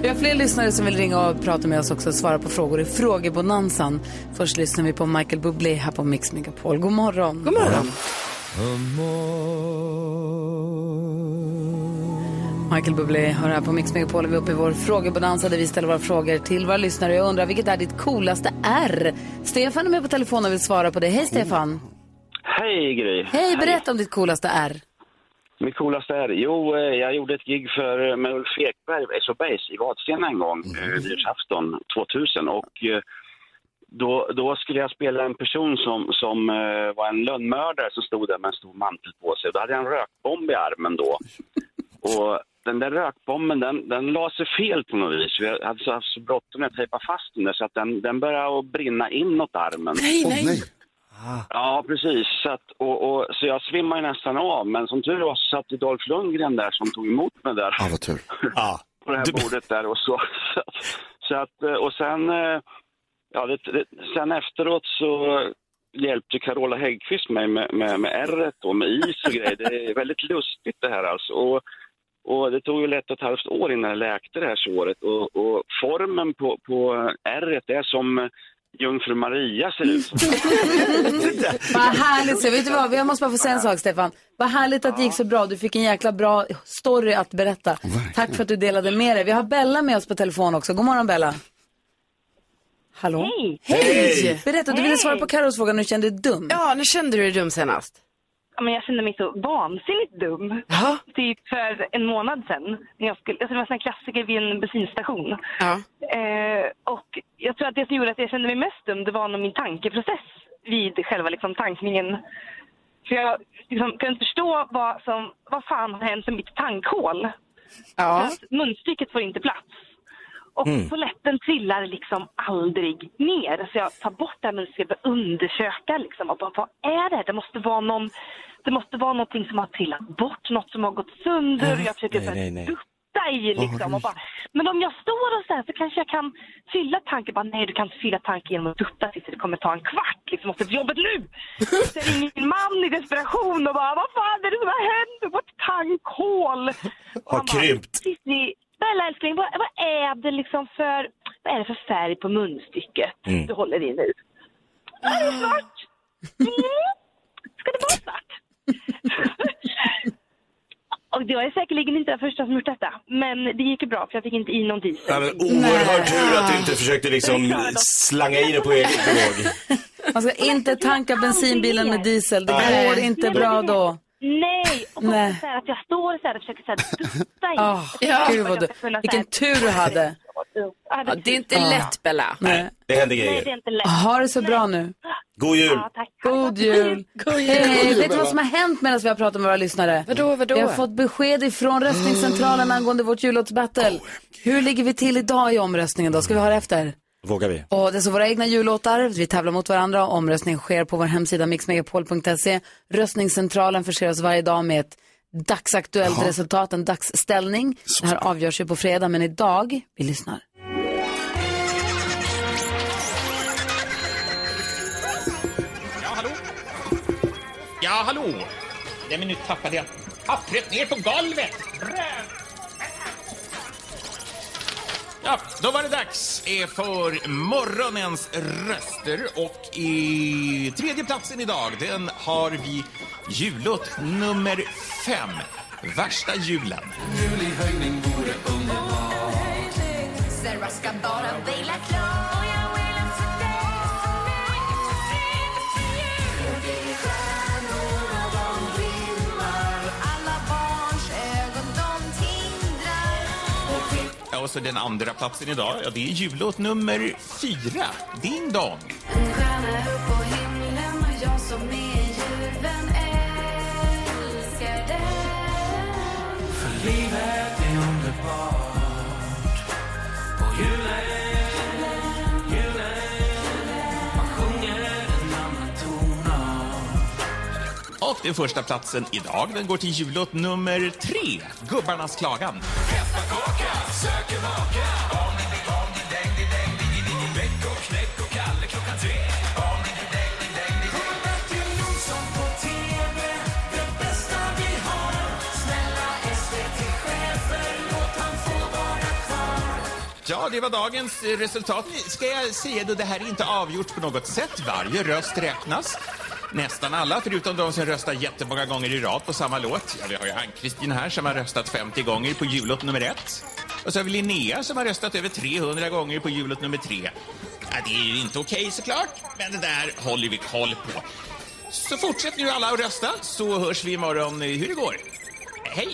Speaker 1: Vi har fler lyssnare som vill ringa och prata med oss också och svara på frågor i frågebonanzan. Först lyssnar vi på Michael Bublé här på Mix Megapol. God morgon. God morgon. Michael Bublé hör här på Mix Megapol. Vi är uppe i vår frågebonanza där vi ställer våra frågor till våra lyssnare. Jag undrar, vilket är ditt coolaste R? Stefan är med på telefon och vill svara på det. Hej Stefan.
Speaker 13: Hej Gry!
Speaker 1: Hej, berätta om ditt coolaste R.
Speaker 13: Mitt coolaste är, jo, eh, jag gjorde ett gig för, eh, med Ulf Ekberg, SO Base, i Vadstena en gång, mm. nyårsafton 2000. Och eh, då, då skulle jag spela en person som, som eh, var en lönnmördare som stod där med en stor mantel på sig. Då hade jag en rökbomb i armen då. Och den där rökbomben, den, den la sig fel på något vis. Jag hade så, haft så bråttom när jag tejpade fast den där, så att den, den började att brinna inåt armen.
Speaker 12: Åh, nej.
Speaker 13: Ja, precis. Så, att, och, och, så jag svimmade ju nästan av, men som tur var så satt ju Dolph Lundgren där som tog emot mig där
Speaker 12: Ja, vad tur.
Speaker 6: Ja.
Speaker 13: på det här
Speaker 6: Du-
Speaker 13: bordet där och så. så. Så att, eh, och sen, eh, ja, det, det, sen efteråt så hjälpte Carola Häggkvist mig med, med, med ärret och med is och grejer. Det är väldigt lustigt det här alltså. Och, och det tog ju lätt ett halvt år innan jag läkte det här såret och, och formen på, på ärret är som eh, Jungfru Maria ser ut som.
Speaker 1: Vad härligt. Så, vet du vad? Jag måste bara få säga en sak, Stefan. Vad härligt att det gick så bra. Du fick en jäkla bra story att berätta. Tack för att du delade med dig. Vi har Bella med oss på telefon också. God morgon, Bella. Hallå? Hej!
Speaker 6: Hej!
Speaker 1: Berätta, du ville svara på Carros fråga när du kände dig dum.
Speaker 5: Ja, när kände du dig dum senast?
Speaker 11: Ja, men jag kände mig så vansinnigt dum.
Speaker 5: Ja.
Speaker 11: Typ för en månad sedan. När jag skulle, alltså det var en sån här klassiker vid en bensinstation.
Speaker 5: Ja.
Speaker 11: Eh, och jag tror att det som gjorde att jag kände mig mest dum, det var nog min tankeprocess vid själva liksom, tankningen. För jag liksom, kunde inte förstå vad, som, vad fan har hänt med mitt tankhål.
Speaker 5: Ja.
Speaker 11: Att munstycket får inte plats. Och
Speaker 7: Mm.
Speaker 11: toaletten trillar liksom aldrig ner. Så jag tar bort det här munstycket och börjar undersöka. Liksom, och bara, vad är det? Det måste vara någon Det måste vara någonting som har trillat bort, något som har gått sönder. Och jag försöker
Speaker 7: Nej,
Speaker 11: så här
Speaker 7: nej, nej.
Speaker 11: dutta i liksom. Och bara, men om jag står och så här så kanske jag kan fylla tanken. Bara, nej, du kan inte fylla tanken genom att dutta tills det kommer ta en kvart. Liksom, måste till jobbet nu! Så ringer min man i desperation och bara, vad fan är det som har hänt? Vårt tankhål! Och
Speaker 6: Har
Speaker 11: han bara,
Speaker 6: krympt.
Speaker 11: Sissi, snälla älskling, vad, vad är det liksom för, vad är det för färg på munstycket
Speaker 7: Mm.
Speaker 11: du håller i nu? Ja, det är svart! Mm. Ska det vara svart? Och jag är säkerligen inte den första som gjort detta, men det gick ju bra för jag fick inte i någon diesel.
Speaker 6: Ja, men oerhörd tur att du inte försökte liksom slanga i det på eget bevåg.
Speaker 1: Man ska inte tanka bensinbilen med diesel. Det
Speaker 11: Nej.
Speaker 1: går inte bra då.
Speaker 11: Nej, och
Speaker 1: Nej.
Speaker 11: också så här att jag står så här och försöker så här dutta i.
Speaker 1: Ah, Gud vad du, vilken tur du hade.
Speaker 11: Ja,
Speaker 14: det är inte
Speaker 1: Ja.
Speaker 14: lätt, Bella.
Speaker 1: Nej.
Speaker 6: Det händer
Speaker 11: Nej, det
Speaker 6: grejer.
Speaker 11: är inte lätt.
Speaker 1: Ha det så bra nu.
Speaker 6: God jul!
Speaker 1: God jul! Hej,
Speaker 6: God
Speaker 1: hej.
Speaker 6: jul,
Speaker 1: Eh, Vet du
Speaker 6: Bella.
Speaker 1: vad som har hänt medan vi har pratat med våra lyssnare?
Speaker 14: Vadå, vadå? Mm.
Speaker 1: Vi har fått besked ifrån röstningscentralen angående vårt jullåtsbattle. Hur ligger vi till idag i omröstningen då? Ska vi höra efter?
Speaker 6: Vågar vi?
Speaker 1: Och det är så våra egna jullåtar. Vi tävlar mot varandra. Omröstningen sker på vår hemsida mixmegapol.se. Röstningscentralen förser oss varje dag med ett dagsaktuellt
Speaker 14: Jaha.
Speaker 1: resultat, en dagsställning. Det här avgörs ju på fredag, men idag, vi lyssnar.
Speaker 15: Ja, hallå? Ja, hallå? Nej, men nu tappade jag pappret ner på golvet. Ja, då var det dags eh, för morgonens röster och i tredje platsen idag, den har vi jullåt nummer fem. Värsta julen.
Speaker 7: Serva ska bara vila klar
Speaker 15: Ja, och så den andra platsen idag, ja, det är jullåt nummer fyra, Ding Dong.
Speaker 7: Livet är underbart och julen, julen man sjunger en annan ton av
Speaker 15: Och den första platsen idag, den går till jullåt nummer tre, Gubbarnas klagan.
Speaker 7: Söker maka Om ni vill, om ni däng, ni däng, ni ni ni Väck och knäck och Kalle klockan tre Om ni vill däng, ni däng, ni ni Martin Olsson på TV Det bästa vi har Snälla SVT-chefer Låt han få vara kvar
Speaker 15: Ja, det var dagens eh, resultat. Ska jag säga då, det här är inte avgjort på något sätt. Varje röst räknas. Nästan alla, förutom de som röstar jättemånga gånger i rad på samma låt. Ja, vi har ju Ann-Kristin här som har röstat 50 gånger på jullåt nummer ett. Och så har vi Linnea som har röstat över 300 gånger på jullåt nummer tre. Ja, det är ju inte okej såklart, men det där håller vi koll på. Så fortsätt nu alla att rösta, så hörs vi imorgon eh, hur det går. Hej!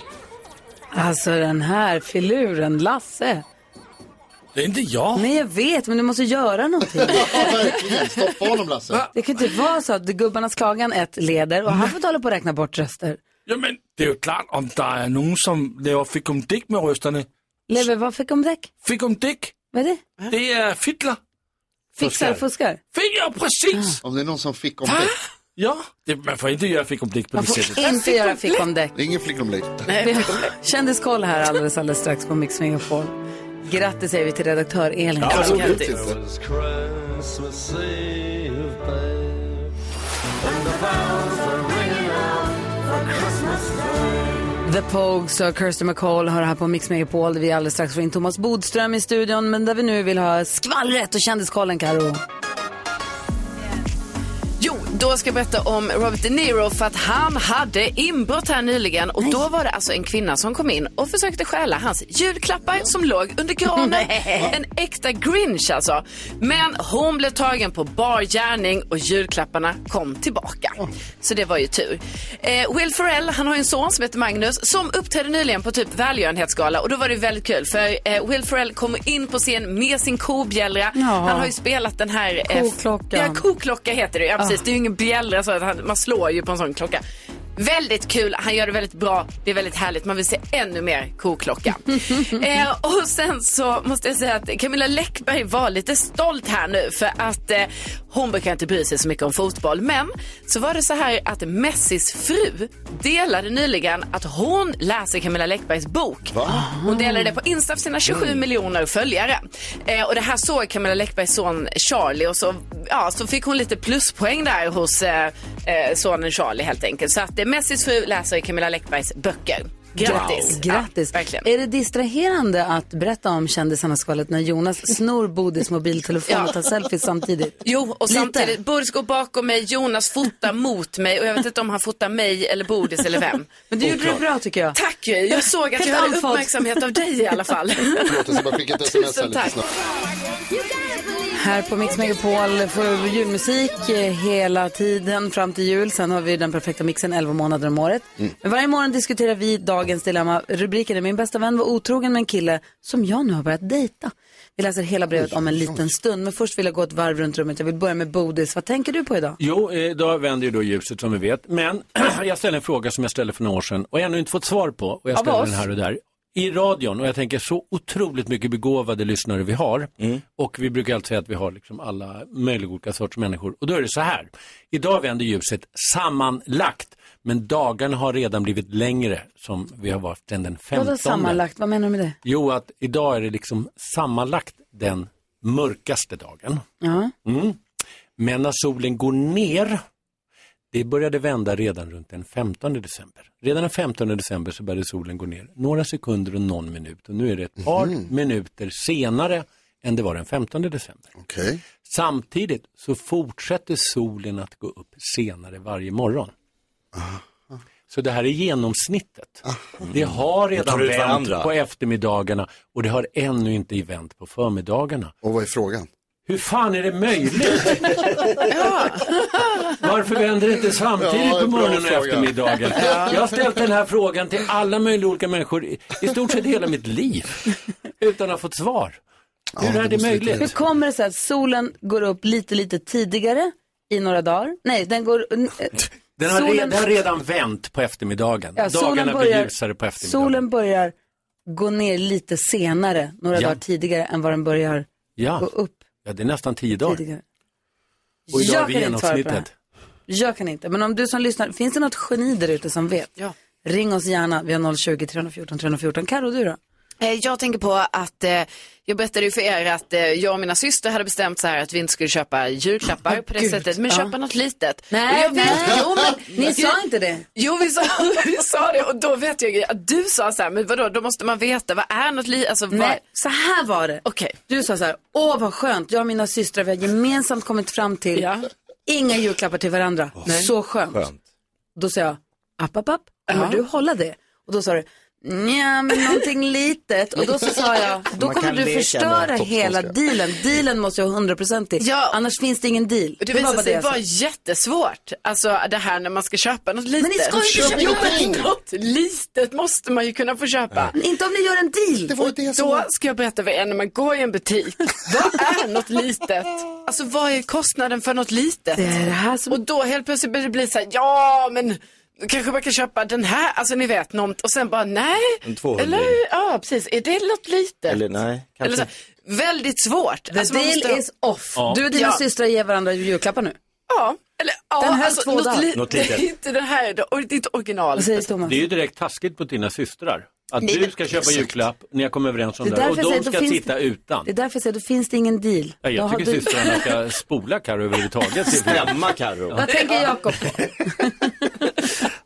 Speaker 1: Alltså den här filuren, Lasse.
Speaker 8: Det är inte jag.
Speaker 1: Nej, jag vet, men du måste göra någonting.
Speaker 4: Stoppa honom Lasse.
Speaker 1: Det kan inte vara så att gubbarnas klagan ett leder och han får tala på att räkna bort röster.
Speaker 8: Jamen, det är ju klart om det är någon som laver fikumdick med rösterna.
Speaker 1: Lever, vad fick om däck?
Speaker 8: Fikumdick,
Speaker 1: Vad är det?
Speaker 8: det är fiddlar.
Speaker 1: Fixar, fuskar?
Speaker 8: Fick jag precis!
Speaker 4: Om det är någon som fick om däck.
Speaker 8: Ja, det, man får inte göra fikumdick på
Speaker 1: Man
Speaker 8: det
Speaker 1: får
Speaker 8: sättet.
Speaker 1: inte göra fickomdäck.
Speaker 4: Ingen flickomdäck.
Speaker 1: Vi har kändiskoll här alldeles, alldeles strax på Mix Megapol. Grattis säger vi till redaktör Elin.
Speaker 7: Christmas Eve, babe And the bells are ringing out for Christmas Day
Speaker 1: The Pogues och Kirsty McCall hör här på Mix Megapol där vi alldeles strax får in Thomas Bodström i studion men där vi nu vill ha skvallret och kändiskollen Karo.
Speaker 5: Jo, då ska jag berätta om Robert De Niro för att han hade inbrott här nyligen och då var det alltså en kvinna som kom in och försökte stjäla hans julklappar som låg under granen.
Speaker 14: Nej.
Speaker 5: en äkta grinch alltså. Men hon blev tagen på bar gärning och julklapparna kom tillbaka. Så det var ju tur. Eh, Will Ferrell, han har ju en son som heter Magnus som uppträdde nyligen på typ välgörenhetsgala och då var det väldigt kul för eh, Will Ferrell kommer in på scen med sin kobjällra.
Speaker 1: Ja.
Speaker 5: Han har ju spelat den här eh,
Speaker 1: Koklockan.
Speaker 5: Ja, koklocka heter det. Ja, precis.
Speaker 1: Ah.
Speaker 5: Alltså, Det är ju ingen bjällra så att han, man slår ju på en sån klocka. Väldigt kul, han gör det väldigt bra, det är väldigt härligt, man vill se ännu mer koklocka. eh, och sen så måste jag säga att Camilla Läckberg var lite stolt här nu för att eh, hon brukar inte bry sig så mycket om fotboll. Men så var det så här att Messis fru delade nyligen att hon läser Camilla Läckbergs bok. Hon delade det på Insta för sina 27 miljoner följare. Eh, och det här såg Camilla Läckbergs son Charlie och så, ja, så fick hon lite pluspoäng där hos eh, eh, sonen Charlie helt enkelt. Så att eh, Messis fru läser Camilla Läckbergs böcker. Grattis!
Speaker 1: Wow. Grattis. är det distraherande att berätta om kändisarna-skvallret när Jonas snor Bodis mobiltelefon
Speaker 5: Ja.
Speaker 1: och tar selfies samtidigt?
Speaker 5: Jo, och
Speaker 1: Lite.
Speaker 5: samtidigt, Bodis går bakom mig, Jonas fotar mot mig och jag vet inte om han fotar mig eller Bodis eller vem.
Speaker 1: Men du gjorde det bra tycker jag.
Speaker 5: Tack ju, jag såg att
Speaker 1: Helt
Speaker 5: jag hade
Speaker 1: andfådd.
Speaker 5: uppmärksamhet av dig i alla fall.
Speaker 4: Förlåt, jag ska bara skicka ett sms här
Speaker 5: Tusen
Speaker 4: lite
Speaker 5: tack.
Speaker 4: snabbt.
Speaker 1: Här på Mix Megapol får vi julmusik eh, hela tiden fram till jul. Sen har vi den perfekta mixen 11 månader om året.
Speaker 14: Mm.
Speaker 1: Men varje morgon diskuterar vi dagens dilemma. Rubriken är Min bästa vän var otrogen med en kille som jag nu har börjat dejta. Vi läser hela brevet om en liten stund. Men först vill jag gå ett varv runt rummet. Jag vill börja med Bodis. Vad tänker du på idag?
Speaker 14: Jo, eh, då vänder ju då ljuset som vi vet. Men jag ställer en fråga som jag ställde för några år sedan och ännu inte fått svar på. Och jag
Speaker 1: Av
Speaker 14: ställer
Speaker 1: oss?
Speaker 14: den här och där. I radion, och jag tänker så otroligt mycket begåvade lyssnare vi har.
Speaker 1: Mm.
Speaker 14: Och vi brukar alltid säga att vi har liksom alla möjliga olika sorts människor. Och då är det så här. Idag vänder ljuset sammanlagt. Men dagarna har redan blivit längre som vi har varit än den 15.
Speaker 1: Vadå sammanlagt? Vad menar du med det?
Speaker 14: Jo, att idag är det liksom sammanlagt den mörkaste dagen.
Speaker 1: Ja.
Speaker 14: Mm. Men när solen går ner, det började vända redan runt den 15 december. Redan den 15 december så började solen gå ner, några sekunder och någon minut. Och nu är det ett par
Speaker 4: Mhm.
Speaker 14: minuter senare än det var den 15 december. Samtidigt så fortsätter solen att gå upp senare varje morgon. Så det här är genomsnittet.
Speaker 4: Ah.
Speaker 14: Mm. Det har
Speaker 6: Det tar
Speaker 14: redan
Speaker 6: ut
Speaker 14: vänt
Speaker 6: varandra.
Speaker 14: på eftermiddagarna och det har ännu inte vänt på förmiddagarna.
Speaker 4: Och vad är frågan?
Speaker 14: Hur fan är det möjligt? Varför vänder det inte samtidigt
Speaker 7: Ja,
Speaker 14: på
Speaker 7: bra
Speaker 14: morgonen och
Speaker 7: fråga.
Speaker 14: eftermiddagen?
Speaker 7: Ja.
Speaker 14: Jag har ställt den här frågan till alla möjliga olika människor i, i stort sett hela mitt liv utan att ha fått svar. Hur är det
Speaker 1: Hur
Speaker 14: möjligt?
Speaker 1: kommer det sig att solen går upp lite, lite tidigare i några dagar? Nej, den går... eh,
Speaker 14: Den har,
Speaker 1: Solen-
Speaker 14: redan, den har redan vänt på eftermiddagen.
Speaker 1: Ja, solen
Speaker 14: Dagarna
Speaker 1: börjar-
Speaker 14: blir ljusare på eftermiddagen.
Speaker 1: Solen börjar gå ner lite senare, några
Speaker 14: Ja.
Speaker 1: dagar tidigare än vad den börjar.
Speaker 14: ja.
Speaker 1: gå upp.
Speaker 14: Ja, det är nästan tio dagar.
Speaker 1: Tidigare.
Speaker 14: Och idag
Speaker 1: Jag
Speaker 14: är vi
Speaker 1: kan inte svara på det här.
Speaker 14: genomsnittet.
Speaker 1: Jag kan inte, men om du som lyssnar, finns det något geni där ute som vet? Ring oss gärna, vi har 020 314 314. Karo, du då?
Speaker 5: Eh, Jag tänker på att eh, jag berättade ju för er att eh, jag och mina systrar hade bestämt så här att vi inte skulle köpa julklappar på det
Speaker 1: Gud,
Speaker 5: sättet, men
Speaker 1: ja.
Speaker 5: köpa något litet.
Speaker 1: Nej,
Speaker 5: Och jag vet-
Speaker 1: nej.
Speaker 5: Jo, men,
Speaker 1: Ni sa
Speaker 5: Jo,
Speaker 1: inte det.
Speaker 5: Jo, vi sa, vi sa det och då vet jag ju att du sa så här, men vadå, då måste man veta, vad är något litet? Alltså, vad...
Speaker 1: Nej, så här var det. Du sa så här, åh vad skönt, jag och mina systrar vi har gemensamt kommit fram till inga julklappar till varandra. Så skönt. Då sa jag, app, app, app, kommer du hålla det? Och då sa du, nja men någonting litet. Och då så sa jag, då
Speaker 5: Man
Speaker 1: kommer
Speaker 5: kan
Speaker 1: du
Speaker 5: leka med
Speaker 1: förstöra
Speaker 5: toppskånska.
Speaker 1: hela dealen. Dealen måste jag ha hundraprocentig, ja. annars finns det ingen deal.
Speaker 5: Det visade sig
Speaker 1: jag
Speaker 5: vara
Speaker 1: sa.
Speaker 5: jättesvårt, alltså det här när man ska köpa något litet.
Speaker 1: Men ni ska ju inte köpa
Speaker 5: Jo,
Speaker 1: någonting!
Speaker 5: men något litet måste man ju kunna få köpa.
Speaker 1: Men Inte om ni gör en deal.
Speaker 5: och då ska jag berätta för er när man går i en butik, vad är något litet? Alltså vad är kostnaden för något litet?
Speaker 1: Det är det här som...
Speaker 5: Och då helt plötsligt blir det bli så här, ja men kanske man kan köpa den här, alltså ni vet något och sen bara nej.
Speaker 6: En 200.
Speaker 5: Eller ja precis, är det något litet?
Speaker 6: Eller nej,
Speaker 5: Eller så, här,
Speaker 6: kanske.
Speaker 5: väldigt svårt. Alltså,
Speaker 1: The
Speaker 5: man
Speaker 1: deal
Speaker 5: måste-
Speaker 1: is off.
Speaker 6: Ja.
Speaker 1: Du och dina
Speaker 5: Ja.
Speaker 1: systrar ger varandra julklappar nu.
Speaker 5: Ja, eller ja,
Speaker 1: Den höll två
Speaker 5: något,
Speaker 1: dagar.
Speaker 5: li-
Speaker 14: Något
Speaker 5: det
Speaker 14: litet.
Speaker 5: är inte den här, det är inte originalet.
Speaker 14: Det är ju direkt taskigt mot dina systrar. Att
Speaker 5: Nej, men-
Speaker 14: du ska köpa julklapp, ni har kommit överens om
Speaker 1: Det är
Speaker 14: det, här,
Speaker 1: därför
Speaker 14: och
Speaker 1: jag säger,
Speaker 14: de
Speaker 1: då
Speaker 14: ska
Speaker 1: finns
Speaker 14: sitta
Speaker 1: det-
Speaker 14: utan.
Speaker 1: Det är därför jag säger, då finns det ingen deal.
Speaker 14: Ja,
Speaker 1: Då
Speaker 14: jag
Speaker 1: har
Speaker 14: tycker
Speaker 1: du-
Speaker 14: systrarna ska spola Carro överhuvudtaget.
Speaker 6: Stämma Carro.
Speaker 1: Vad tänker Jakob?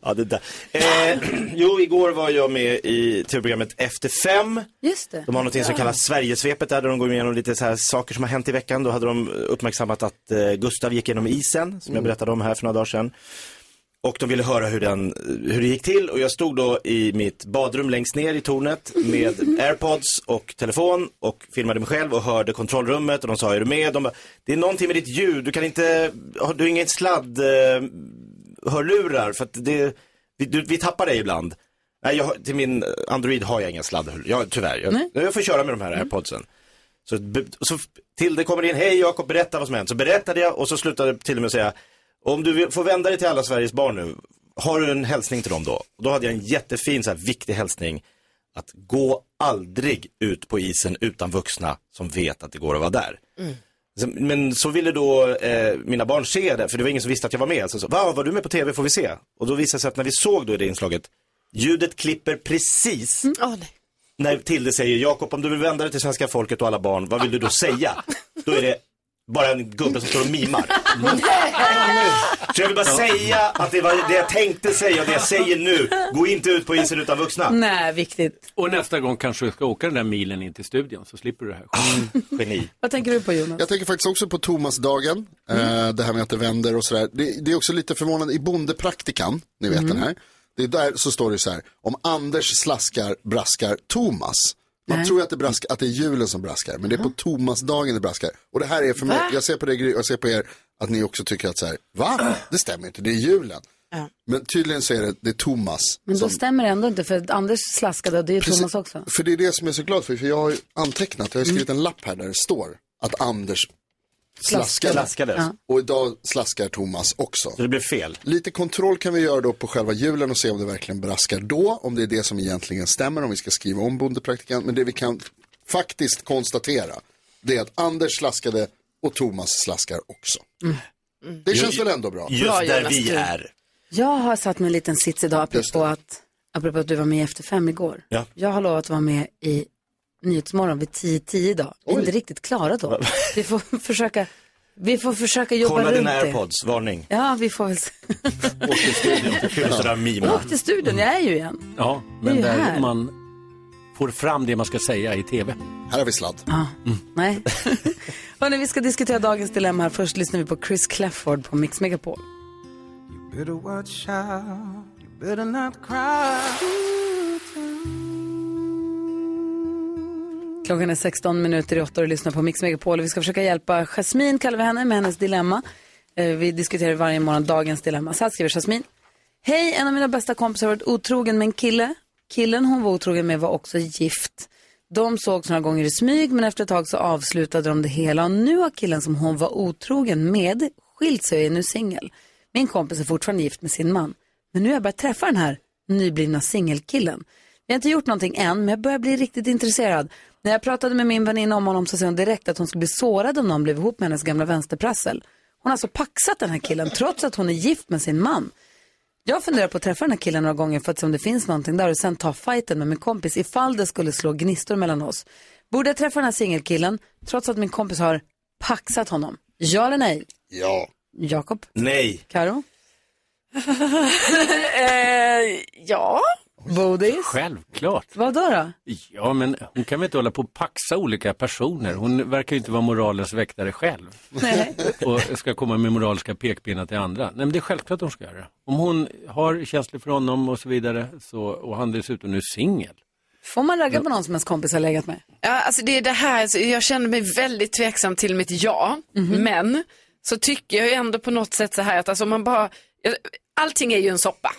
Speaker 6: Ja, det där. Eh, jo, igår var jag med i tv-programmet Efter fem.
Speaker 1: Just det.
Speaker 6: De har något som kallas Sverigesvepet där, där de går igenom lite så här saker som har hänt i veckan. Då hade de uppmärksammat att eh, Gustav gick genom isen, som jag
Speaker 3: Mm.
Speaker 6: berättade om här för några dagar sedan. Och de ville höra hur, den, hur det gick till och jag stod då i mitt badrum längst ner i tornet med airpods och telefon och filmade mig själv och hörde kontrollrummet och de sa är du med? De bara, det är någonting med ditt ljud, du kan inte, har du inget sladd, eh, hörlurar för att det, vi, du, vi tappar dig ibland. Nej, jag, har- till min eh, Android har jag inga sladdhörlurar, jag, tyvärr. Jag, jag får köra med de här airpodsen. Så, be- så f- till det kommer in, hej Jakob, berätta vad som hänt. Så berättade jag och så slutade till och med säga, om du vill, får vända dig till alla Sveriges barn nu, har du en hälsning till dem då? Då hade jag en jättefin, så här, viktig hälsning. Att gå aldrig ut på isen utan vuxna som vet att det går att vara där. Så- Men så ville då eh, mina barn se det, för det var ingen som visste att jag var med. Så, så Va, var du med på tv, får vi se? Och då visade det sig att när vi såg då det inslaget, ljudet klipper precis
Speaker 1: Mm.
Speaker 6: när Tilde säger Jakob, om du vill vända dig till svenska folket och alla barn, vad vill du då säga? Då är det bara en gubbe som står och mimar. Så jag vill bara säga att det var det jag tänkte säga och det jag säger nu. Gå inte ut på isen utan vuxna.
Speaker 1: Nej, viktigt.
Speaker 14: Och nästa gång kanske du ska åka den där milen in till studion så slipper du det här.
Speaker 1: Mm.
Speaker 6: Geni.
Speaker 1: Vad tänker du på Jonas? Mm.
Speaker 4: Jag tänker faktiskt också på Thomasdagen, eh, det här med att det vänder och sådär. Det, det är också lite förvånande, i Bondepraktikan, ni vet
Speaker 1: Mm.
Speaker 4: den här, det är där så står det så här, om Anders slaskar braskar Thomas. Man
Speaker 1: Nej.
Speaker 4: tror ju att det, brask, att det är julen som braskar, men det är på Thomasdagen det braskar. Och det här är för mig,
Speaker 12: Va?
Speaker 4: jag ser på dig Gry, och jag ser på er, att ni också tycker att så här, va? Det stämmer inte, det är julen.
Speaker 1: Ja.
Speaker 4: Men tydligen så är det, det är Thomas.
Speaker 1: Men då
Speaker 4: som-
Speaker 1: stämmer det ändå inte för att Anders slaskade och det är ju Thomas också.
Speaker 4: för det är det som jag är så glad för, för jag har ju antecknat, jag har ju skrivit en lapp här där det står att Anders slaskade.
Speaker 6: Slaskades. Ja.
Speaker 4: Och idag slaskar Thomas också. Så
Speaker 6: det blev fel.
Speaker 4: Lite kontroll kan vi göra då på själva julen och se om det verkligen braskar då, om det är det som egentligen stämmer, om vi ska skriva om bondepraktikan. Men det vi kan faktiskt konstatera, det är att Anders slaskade och Thomas slaskar också. Mm. Det känns väl ändå bra?
Speaker 1: Just Bra, där Jonas, vi du. är. Jag har satt mig en liten sits idag apropå att, apropå att du var med i Efter fem igår.
Speaker 6: Ja.
Speaker 1: Jag har lovat att vara med i Nyhetsmorgon vid 10-10 idag. Vi är inte riktigt klara då. Vi får försöka, vi får försöka jobba
Speaker 6: Kolla
Speaker 1: runt
Speaker 6: dina
Speaker 1: det.
Speaker 6: airpods, varning.
Speaker 1: Ja, vi får väl se.
Speaker 6: Sådär mima.
Speaker 1: Åk till studion, jag är ju igen.
Speaker 14: Ja,
Speaker 1: Det är
Speaker 14: men
Speaker 1: ju
Speaker 14: där
Speaker 1: här.
Speaker 14: man får fram det man ska säga i Mm. tv.
Speaker 4: Här har vi sladd.
Speaker 1: Ja, nej. Hörrni, vi ska diskutera dagens dilemma här. Först lyssnar vi på Chris Clafford på Mix Megapol.
Speaker 7: Better watch out, you better not cry.
Speaker 1: Klockan är 16 minuter i åtta och du lyssnar på Mix Megapol. Vi ska försöka hjälpa Jasmine, kallar vi henne, med hennes dilemma. Eh, Vi diskuterar varje morgon dagens dilemma. Så här skriver Jasmine. Hej, en av mina bästa kompisar har varit otrogen med en kille. Killen hon var otrogen med var också gift. De sågs några gånger i smyg men efter ett tag så avslutade de det hela och nu har killen som hon var otrogen med skilt sig och är nu singel. Min kompis är fortfarande gift med sin man. Men nu har jag börjat träffa den här nyblivna singelkillen. Vi har inte gjort någonting än men jag börjar bli riktigt intresserad. När jag pratade med min väninna om honom så sa hon direkt att hon skulle bli sårad om någon blev ihop med hennes gamla vänsterprassel. Hon har alltså paxat den här killen trots att hon är gift med sin man. Jag funderar på att träffa den här killen några gånger för att se om det finns någonting där och sen ta fighten med min kompis ifall det skulle slå gnistor mellan oss. Borde jag träffa den här singelkillen trots att min kompis har paxat honom? Ja eller nej?
Speaker 4: Ja.
Speaker 1: Jakob?
Speaker 6: Nej.
Speaker 1: Karo?
Speaker 16: eh, ja.
Speaker 1: Bodis?
Speaker 14: Självklart.
Speaker 1: Vad då? då?
Speaker 14: Ja, men hon kan väl inte hålla på och paxa olika personer. Hon verkar ju inte vara moralens väktare själv.
Speaker 1: Nej.
Speaker 14: Och ska komma med moraliska pekpinnar till andra. Nej, men det är självklart hon ska göra det. Om hon har känslor för honom och så vidare så, och han dessutom nu är singel.
Speaker 1: Får man ragga på någon som ens kompis har legat med?
Speaker 16: Ja, alltså det är det här, så jag känner mig väldigt tveksam till mitt ja, men så tycker jag ju ändå på något sätt så här att alltså om man bara, allting är ju en soppa.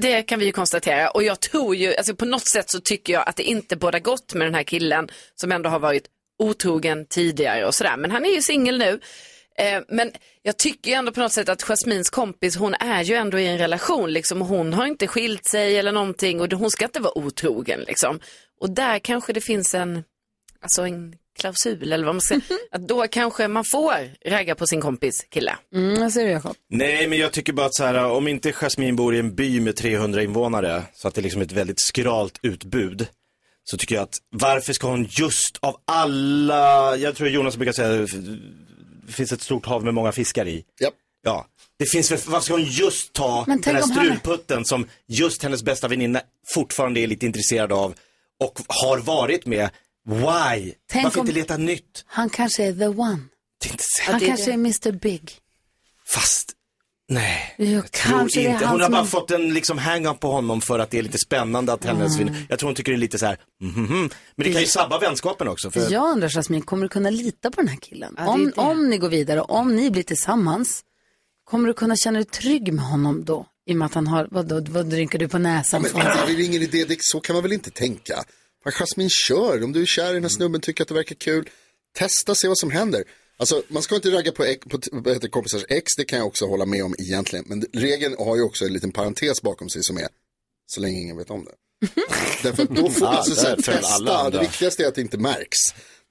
Speaker 16: Det kan vi ju konstatera och jag tror ju, alltså på något sätt så tycker jag att det inte båda gott med den här killen som ändå har varit otrogen tidigare och sådär, men han är ju singel nu. Eh, men jag tycker ju ändå på något sätt att Jasmins kompis, hon är ju ändå i en relation liksom. och Hon har inte skilt sig eller någonting och hon ska inte vara otrogen liksom. Och där kanske det finns en, alltså en klausul eller vad man ska att då kanske man får ragga på sin kompis kille.
Speaker 1: Mm, vad säger du Jakob?
Speaker 6: Nej, men jag tycker bara att så här, om inte Jasmine bor i en by med 300 invånare, så att det är liksom ett väldigt skralt utbud, så tycker jag att varför ska hon just av alla, jag tror Jonas brukar säga, det finns ett stort hav med många fiskar i. Ja. Det finns väl, varför ska hon just ta
Speaker 1: Men
Speaker 6: den
Speaker 1: tänk
Speaker 6: här
Speaker 1: om han-
Speaker 6: strulputten som just hennes bästa väninna fortfarande är lite intresserad av och har varit med. Why?
Speaker 1: Tänk
Speaker 6: varför
Speaker 1: om-
Speaker 6: inte leta nytt?
Speaker 1: Han kanske är the one.
Speaker 6: säkert.
Speaker 1: Han
Speaker 6: Ja, det är
Speaker 1: kanske
Speaker 6: det.
Speaker 1: är Mr Big.
Speaker 6: Fast, nej.
Speaker 1: Jo, kanske
Speaker 6: tror
Speaker 1: det är
Speaker 6: inte.
Speaker 1: han
Speaker 6: Hon har
Speaker 1: som
Speaker 6: bara
Speaker 1: är-
Speaker 6: fått en liksom hang-up på honom för att det är lite spännande att hennes
Speaker 1: Mm.
Speaker 6: vin... Jag tror hon tycker det är lite så här, mhm. Men det kan ju sabba vänskapen också. För...
Speaker 1: Jag undrar Jasmine, kommer du kunna lita på den här killen?
Speaker 16: det är
Speaker 1: om,
Speaker 16: det.
Speaker 1: om ni går vidare, om ni blir tillsammans, kommer du kunna känna dig trygg med honom då? I och med att han har, vad, vad, vad rynkar du på
Speaker 4: Ja,
Speaker 1: näsan?
Speaker 4: men,
Speaker 1: för?
Speaker 4: det är ingen idé, det, så kan man väl inte tänka.
Speaker 12: Mm.
Speaker 4: Fan, Jasmine kör, om du är kär i den här snubben, tycker att det verkar kul, testa, se vad som händer. Alltså man ska inte ragga på, ex- på, t- vad heter kompisars ex, det kan jag också hålla med om egentligen. Men regeln har ju också en liten parentes bakom sig som är så länge ingen vet om det. Därför att då får
Speaker 12: Ah,
Speaker 4: man så att säga
Speaker 12: där föll alla
Speaker 4: testa,
Speaker 12: andra.
Speaker 4: det viktigaste är att det inte märks.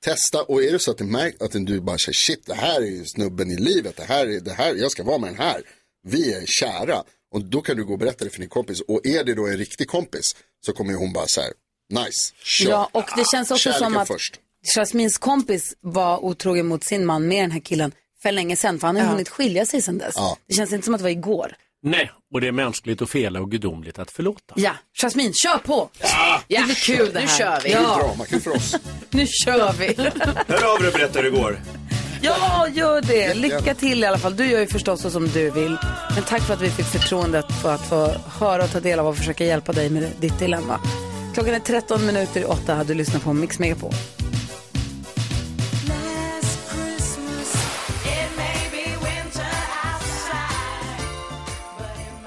Speaker 4: Testa och är det så att det märks, att du bara säger shit det här är ju snubben i livet, det här är, det här, jag ska vara med den här. Vi är kära och då kan du gå och berätta det för din kompis och är det då en riktig kompis så kommer ju hon bara så här, nice, kör.
Speaker 1: Ja, och det känns också
Speaker 4: Kärleken
Speaker 1: som att
Speaker 4: först.
Speaker 1: Jasmins kompis var otrogen mot sin man med den här killen för länge sedan, för han har ju
Speaker 14: Ja.
Speaker 1: hunnit skilja sig sedan dess.
Speaker 14: Ja.
Speaker 1: Det känns inte som att det var igår.
Speaker 14: Nej, och det är mänskligt att fela och gudomligt att förlåta.
Speaker 1: Ja, Jasmin, kör på! Ja. Det blir kul det här.
Speaker 16: Nu kör vi.
Speaker 1: Ja.
Speaker 4: kul för oss.
Speaker 1: Nu kör vi.
Speaker 6: Hör av dig och berätta hur det går.
Speaker 1: Ja, gör det. Lycka till i alla fall. Du gör ju förstås så som du vill. Men tack för att vi fick förtroendet för att få höra och ta del av och försöka hjälpa dig med ditt dilemma. Klockan är 13 minuter i 8. Hade du lyssnat på Mix Megapol.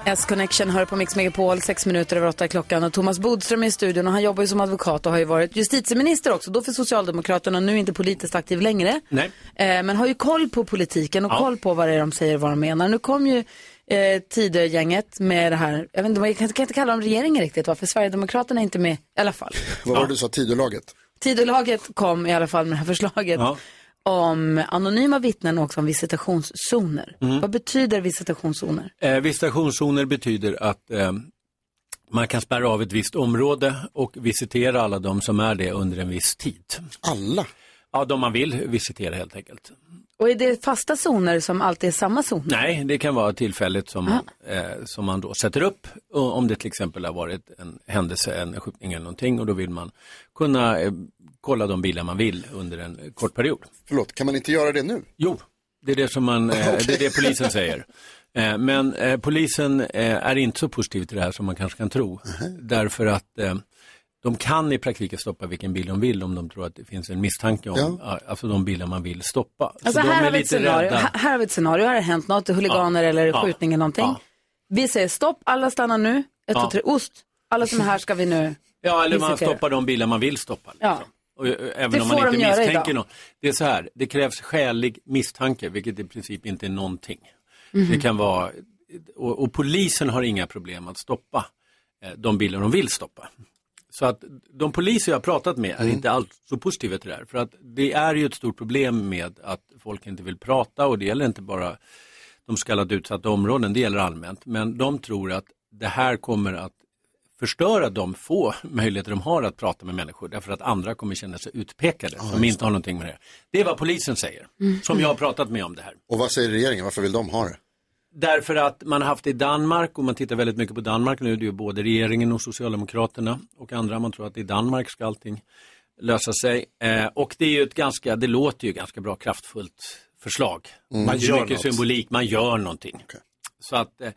Speaker 1: S-Connection hör på Mix Megapol, sex minuter över åtta är klockan. Och Thomas Bodström är i studion och han jobbar ju som advokat och har ju varit justitieminister också, då för Socialdemokraterna och nu inte politiskt aktiv längre.
Speaker 14: Nej.
Speaker 1: Eh, men har ju koll på politiken och koll på vad det är de säger och vad de menar. Nu kom ju eh, Tidögänget med det här, jag vet inte, man kan, kan inte kalla dem regeringen riktigt va, för Sverigedemokraterna är inte med i alla fall.
Speaker 4: Vad var det du sa, Tidölaget?
Speaker 1: Tidölaget kom i alla fall med det här förslaget
Speaker 4: Ja.
Speaker 1: om anonyma vittnen och också om visitationszoner.
Speaker 14: Mm.
Speaker 1: Vad betyder visitationszoner?
Speaker 14: Eh, visitationszoner betyder att eh, man kan spärra av ett visst område och visitera alla de som är det under en viss tid.
Speaker 4: Alla?
Speaker 14: Ja, de man vill visitera helt enkelt.
Speaker 1: Och är det fasta zoner som alltid är samma zoner?
Speaker 14: Nej, det kan vara tillfälligt som, eh, som man då sätter upp. Och om det till exempel har varit en händelse, en skjutning eller någonting och då vill man kunna eh, kolla de bilar man vill under en eh, kort period.
Speaker 4: Förlåt, kan man inte göra det nu?
Speaker 14: Jo, det är det som man, eh, det är det polisen säger. Eh, men eh, polisen eh, är inte så positiv till det här som man kanske kan tro. Därför att eh, de kan i praktiken stoppa vilken bil de vill om de tror att det finns en misstanke om,
Speaker 1: Ja.
Speaker 14: alltså de bilar man vill stoppa. Så
Speaker 1: Alltså
Speaker 14: de
Speaker 1: här har,
Speaker 14: är
Speaker 1: vi ett
Speaker 14: lite
Speaker 1: scenario,
Speaker 14: rädda.
Speaker 1: här, här har vi ett scenario, här har det hänt något, huliganer
Speaker 14: Ja.
Speaker 1: eller
Speaker 14: Ja.
Speaker 1: skjutning eller någonting. Vi säger stopp, alla stannar nu, ett,
Speaker 14: Ja.
Speaker 1: två, tre, ost. Alla som är här ska vi nu
Speaker 14: Ja, eller man
Speaker 1: visitera.
Speaker 14: stoppar de bilar man vill stoppa.
Speaker 1: Ja.
Speaker 14: Och, eh, även
Speaker 1: Det
Speaker 14: om man
Speaker 1: får
Speaker 14: inte
Speaker 1: de göra
Speaker 14: misstänker
Speaker 1: idag.
Speaker 14: någon. Det är så här, det krävs skälig misstanke, vilket i princip inte är någonting.
Speaker 4: Mm-hmm.
Speaker 1: Mhm.
Speaker 14: Det kan vara, och, och polisen har inga problem att stoppa eh, de bilar de vill stoppa. Så att de poliser jag har pratat med är
Speaker 4: Mm.
Speaker 14: inte alls så positiva till det här. För att det är ju ett stort problem med att folk inte vill prata och det gäller inte bara de så kallade utsatta områden, det gäller allmänt. Men de tror att det här kommer att förstöra de få möjligheter de har att prata med människor därför att andra kommer känna sig utpekade som
Speaker 4: just
Speaker 14: inte har någonting med det Det är vad polisen säger,
Speaker 4: Mm.
Speaker 14: som jag har pratat med om det här.
Speaker 4: Och vad säger regeringen, varför vill de ha det?
Speaker 14: Därför att man har haft det i Danmark och man tittar väldigt mycket på Danmark nu. Det är ju både regeringen och Socialdemokraterna och andra. Man tror att i Danmark ska allting lösa sig. Eh, och det är ju ett ganska, det låter ju ganska bra kraftfullt förslag.
Speaker 6: Mm.
Speaker 14: Man
Speaker 6: Man gör
Speaker 14: gör mycket
Speaker 6: något.
Speaker 14: symbolik, man gör någonting. Så att, eh,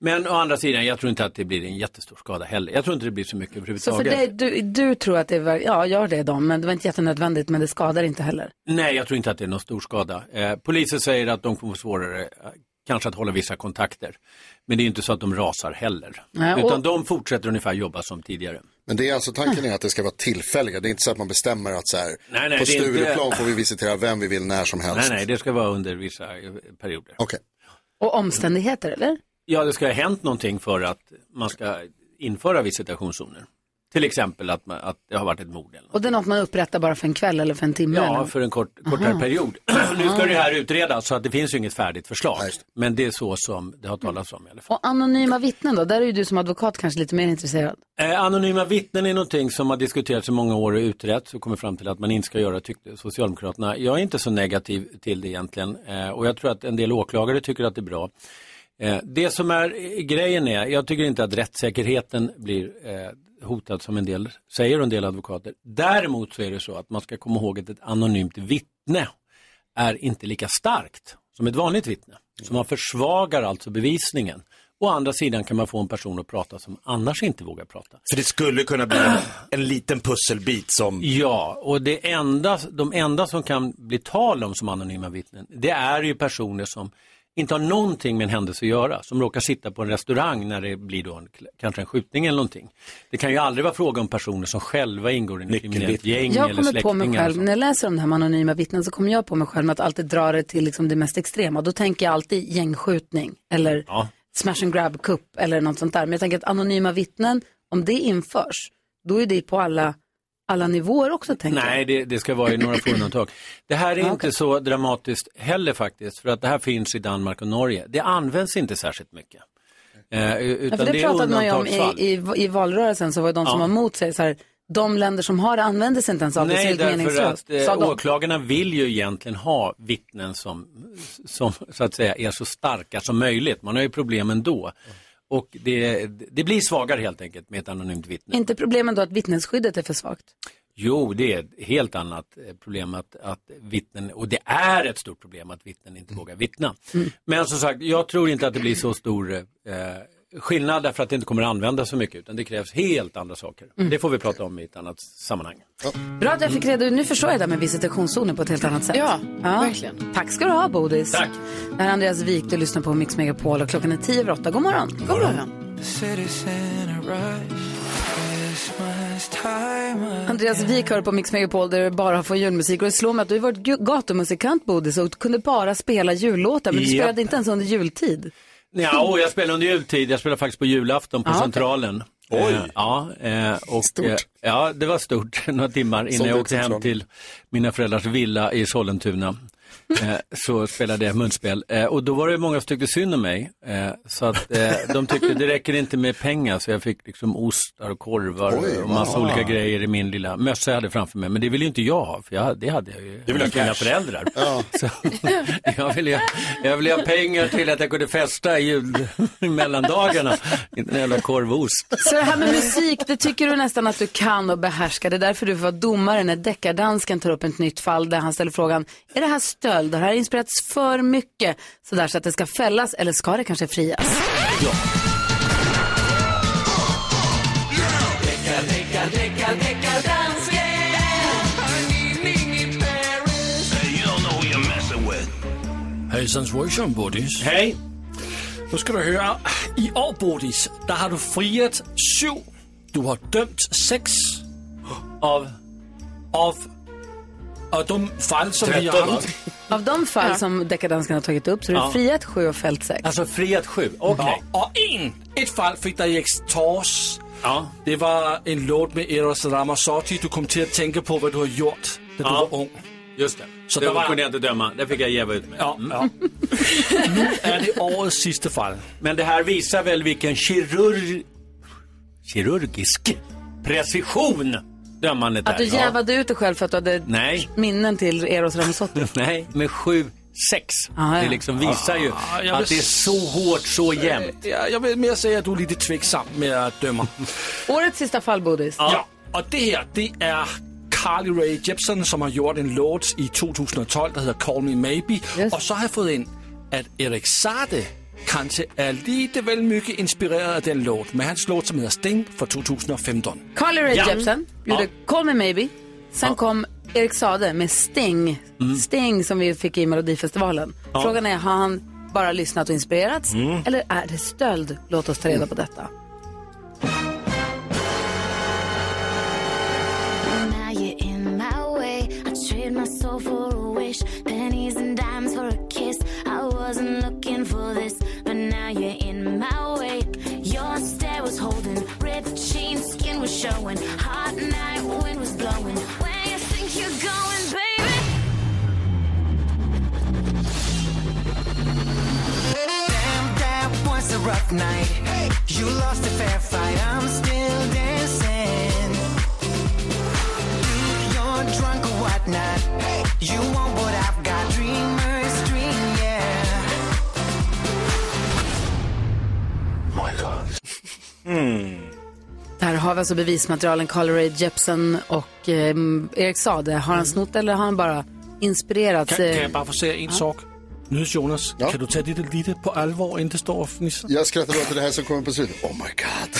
Speaker 14: men å andra sidan, jag tror inte att det blir en jättestor skada heller. Jag tror inte det blir så mycket
Speaker 1: Så
Speaker 14: överhuvudtaget.
Speaker 1: för dig, du, du tror att det är, ja gör det då, men det var inte jättenödvändigt, men det skadar inte heller.
Speaker 14: Nej, jag tror inte att det är någon stor skada. Eh, polisen säger att de kommer få svårare eh, kanske att hålla vissa kontakter. Men det är ju inte så att de rasar heller.
Speaker 1: Nej, och-
Speaker 14: Utan de fortsätter ungefär jobba som tidigare.
Speaker 4: Men det är alltså tanken är att det ska vara tillfälliga, det är inte så att man bestämmer att så här,
Speaker 14: Nej, nej,
Speaker 4: på
Speaker 14: det är inte-
Speaker 4: Stureplan får vi visitera vem vi vill när som helst.
Speaker 14: Nej, nej, det ska vara under vissa eh, perioder.
Speaker 4: Okej.
Speaker 1: Och omständigheter, eller?
Speaker 14: Ja, det ska ha hänt någonting för att man ska införa visitationszoner. Till exempel att, man, att det har varit ett mord. Eller Mm.
Speaker 1: Och det är något man upprättar bara för en kväll eller för en timme?
Speaker 14: Ja,
Speaker 1: eller?
Speaker 14: för en kort, kortare
Speaker 1: Aha.
Speaker 14: period. nu ska det här utredas så att det finns ju inget färdigt förslag. Men det är så som det har talats om i alla fall.
Speaker 1: Och anonyma vittnen då? Där är ju du som advokat kanske lite mer intresserad.
Speaker 14: Eh, Anonyma vittnen är någonting som har diskuterats i många år och utretts och kommit fram till att man inte ska göra tyckte Socialdemokraterna. Jag är inte så negativ till det egentligen eh, och jag tror att en del åklagare tycker att det är bra. Eh, Det som är eh, grejen är, jag tycker inte att rättssäkerheten blir eh, hotad som en del säger och en del advokater. Däremot så är det så att man ska komma ihåg att ett anonymt vittne är inte lika starkt som ett vanligt vittne. Så man försvagar alltså bevisningen. Å andra sidan kan man få en person att prata som annars inte vågar prata.
Speaker 6: För det skulle kunna bli en, en liten pusselbit som...
Speaker 14: Ja, och det enda, de enda som kan bli tal om som anonyma vittnen, det är ju personer som inte har någonting med en händelse att göra, som råkar sitta på en restaurang när det blir då en, kanske en skjutning eller någonting. Det kan ju aldrig vara fråga om personer som själva ingår i en kriminellt gäng
Speaker 1: Jag
Speaker 14: eller
Speaker 1: kommer på mig
Speaker 14: släktingar. och
Speaker 1: själv, när jag läser om det här med anonyma vittnen så kommer jag på mig själv med att alltid dra det till liksom det mest extrema. Då tänker jag alltid gängskjutning eller
Speaker 14: Ja.
Speaker 1: smash and grab cup eller något sånt där. Men jag tänker att anonyma vittnen, om det införs, då är det på alla, alla nivåer också tänker jag.
Speaker 14: Nej, det, det ska vara i några få undantag. Det här är inte så dramatiskt heller faktiskt, för att det här finns i Danmark och Norge. Det används inte särskilt mycket. Eh,
Speaker 1: Ja,
Speaker 14: utan
Speaker 1: för det,
Speaker 14: det är
Speaker 1: pratade man ju om
Speaker 14: undantagsfall.
Speaker 1: i, i, i valrörelsen, så var det de som
Speaker 14: Ja.
Speaker 1: var emot sig så här, de länder som har det använder sig inte ens av det, så det är
Speaker 14: Nej,
Speaker 1: helt
Speaker 14: därför
Speaker 1: meningslöst.
Speaker 14: att
Speaker 1: sa
Speaker 14: eh,
Speaker 1: de.
Speaker 14: åklagarna vill ju egentligen ha vittnen som, som så att säga är så starka som möjligt. Man har ju problem ändå. Och det, det blir svagare helt enkelt med ett anonymt vittne.
Speaker 1: Inte problemen då att vittnesskyddet är för svagt?
Speaker 14: Jo, det är ett helt annat eh, problem att, att vittnen, och det är ett stort problem att vittnen
Speaker 17: Mm.
Speaker 14: inte vågar vittna. Men som sagt, jag tror inte att det blir så stor eh, skillnad därför att det inte kommer att användas så mycket utan det krävs helt andra saker. Det får vi prata om i ett annat sammanhang.
Speaker 1: Bra att jag fick reda Nu förstår jag det där med visitationszoner på ett helt annat sätt.
Speaker 18: Ja, verkligen.
Speaker 1: Tack ska du ha, Bodis. Tack. Det här är Andreas Wik, du lyssnar på Mix Megapol och klockan är tio över åtta. God morgon. God morgon.
Speaker 7: The city's in a rush. Christmas time.
Speaker 1: Andreas Wik hör på Mix Megapol där du bara får julmusik och det slår mig att du har varit gu- gatumusikant, Bodis, och kunde bara spela jullåtar, men du
Speaker 14: Japp.
Speaker 1: spelade inte ens under jultid.
Speaker 14: Ja, och jag spelar under jultid. Jag spelar faktiskt på julafton på
Speaker 1: Ja, okej.
Speaker 14: Centralen.
Speaker 1: Oj.
Speaker 14: Eh, Ja, eh, och,
Speaker 1: Stort.
Speaker 14: eh, ja, det var stort. Några timmar innan
Speaker 1: Sålde
Speaker 14: jag
Speaker 1: ut
Speaker 14: åkte hem
Speaker 1: Centralen.
Speaker 14: till mina föräldrars villa i Sollentuna. Eh, så spelade jag munspel. Eh, och då var det många som tyckte synd om mig. Eh, så att eh, de tyckte det räcker inte med pengar. Så jag fick liksom ostar och korvar
Speaker 19: Oj,
Speaker 14: och massa
Speaker 19: wow.
Speaker 14: olika grejer i min lilla mössa jag hade framför mig. Men det ville ju inte jag ha, för jag, det hade jag ju.
Speaker 19: Du vill ha
Speaker 14: hos mina
Speaker 19: cash.
Speaker 14: föräldrar. Så, jag ville ju jag ville ha pengar till att jag kunde festa i jul, i mellandagarna. Inte en jävla korv och ost.
Speaker 1: Så det här med musik, det tycker du nästan att du kan och behärskar. Det är därför du får vara domare när deckardansken tar upp ett nytt fall där han ställer frågan, är det här stöld? Har det här inspirerats för mycket? Sådär så att det ska fällas eller ska det kanske frias?
Speaker 13: Hejsan svejsan, Bodis.
Speaker 8: Hej! Nu ska du høre. I år, Bodis, der har du friet syv. Du har dømt seks av... av... av de fejl, som vi har haft.
Speaker 1: Av de fall som deckardansken har tagit upp så är det
Speaker 8: Ja.
Speaker 1: friat sju och fällt sex.
Speaker 14: Alltså friat sju,
Speaker 1: okej.
Speaker 8: Ja, og en, et fejl fik dig i Tors. Ja. Det var en låt med Eros Ramazzotti. Du kom til at tænke på, hvad du har gjort, da du var ung.
Speaker 14: Just det.
Speaker 8: Så
Speaker 14: Så
Speaker 8: det
Speaker 14: det
Speaker 8: var-
Speaker 14: kunde jag inte döma. Det fick jag jäva ut med. Mm.
Speaker 8: Ja, ja. nu är det årets sista fall.
Speaker 14: Men det här visar väl vilken kirurg... kirurgisk precision dömandet
Speaker 1: Att du
Speaker 14: är. Ja.
Speaker 1: jävade ut dig själv för att du hade
Speaker 14: Nej.
Speaker 1: minnen till Eros Ramazzotti.
Speaker 14: Nej, med sju, sex.
Speaker 1: Ah, ja.
Speaker 14: Det liksom visar ju
Speaker 8: Ah, jag
Speaker 14: att det
Speaker 8: vill Eh,
Speaker 14: är så hårt, så jämnt.
Speaker 8: Ja, jag vill mer säga att du är lite tveksam med att döma.
Speaker 1: Årets sista fall, Bodis.
Speaker 8: Ja, och det här det är Carly Rae Jepsen som har gjort en låt i 2012 som heter Call Me Maybe. Och så har jag fått in att Erik Sade kanske är lite väl mycket inspirerad av den låt med hans låt som heter Sting från 2015.
Speaker 1: Carly Rae
Speaker 8: Ja.
Speaker 1: Jepsen gjorde
Speaker 8: Ja.
Speaker 1: Call Me Maybe. Sen kom Erik Sade med Sting. Sting som vi fick i Melodifestivalen.
Speaker 8: Mm. Ja. Mm.
Speaker 1: Frågan är, har han bara lyssnat och inspirerats? Eller är det stöld? Låt oss ta reda på detta.
Speaker 20: Now you're in my way. I trade my soul for a wish, pennies and dimes for a kiss. I wasn't looking for this, but now you're in my way. Your stare was holding, ripped jeans, skin was showing, hot night wind was blowing. Where you think you're going, baby?
Speaker 7: Damn, that was a rough night. You lost a fair fight. I'm still dancing. Dude, you're drunk or whatnot. You want what I've got. Dreamers dream, yeah.
Speaker 14: Hmm.
Speaker 1: Där har vi alltså bevismaterialen Carly Rae Jepsen och eh, Erik Sade. Har han snott eller har han bara inspirerats?
Speaker 8: Mm.
Speaker 1: eh?
Speaker 8: Kan, kan jag bara få säga en sak? Nyhets Jonas, kan du ta detta lite på allvar inte stå och fnissa?
Speaker 4: Jag skrattar åt det här som kommer på slutet. Oh my god.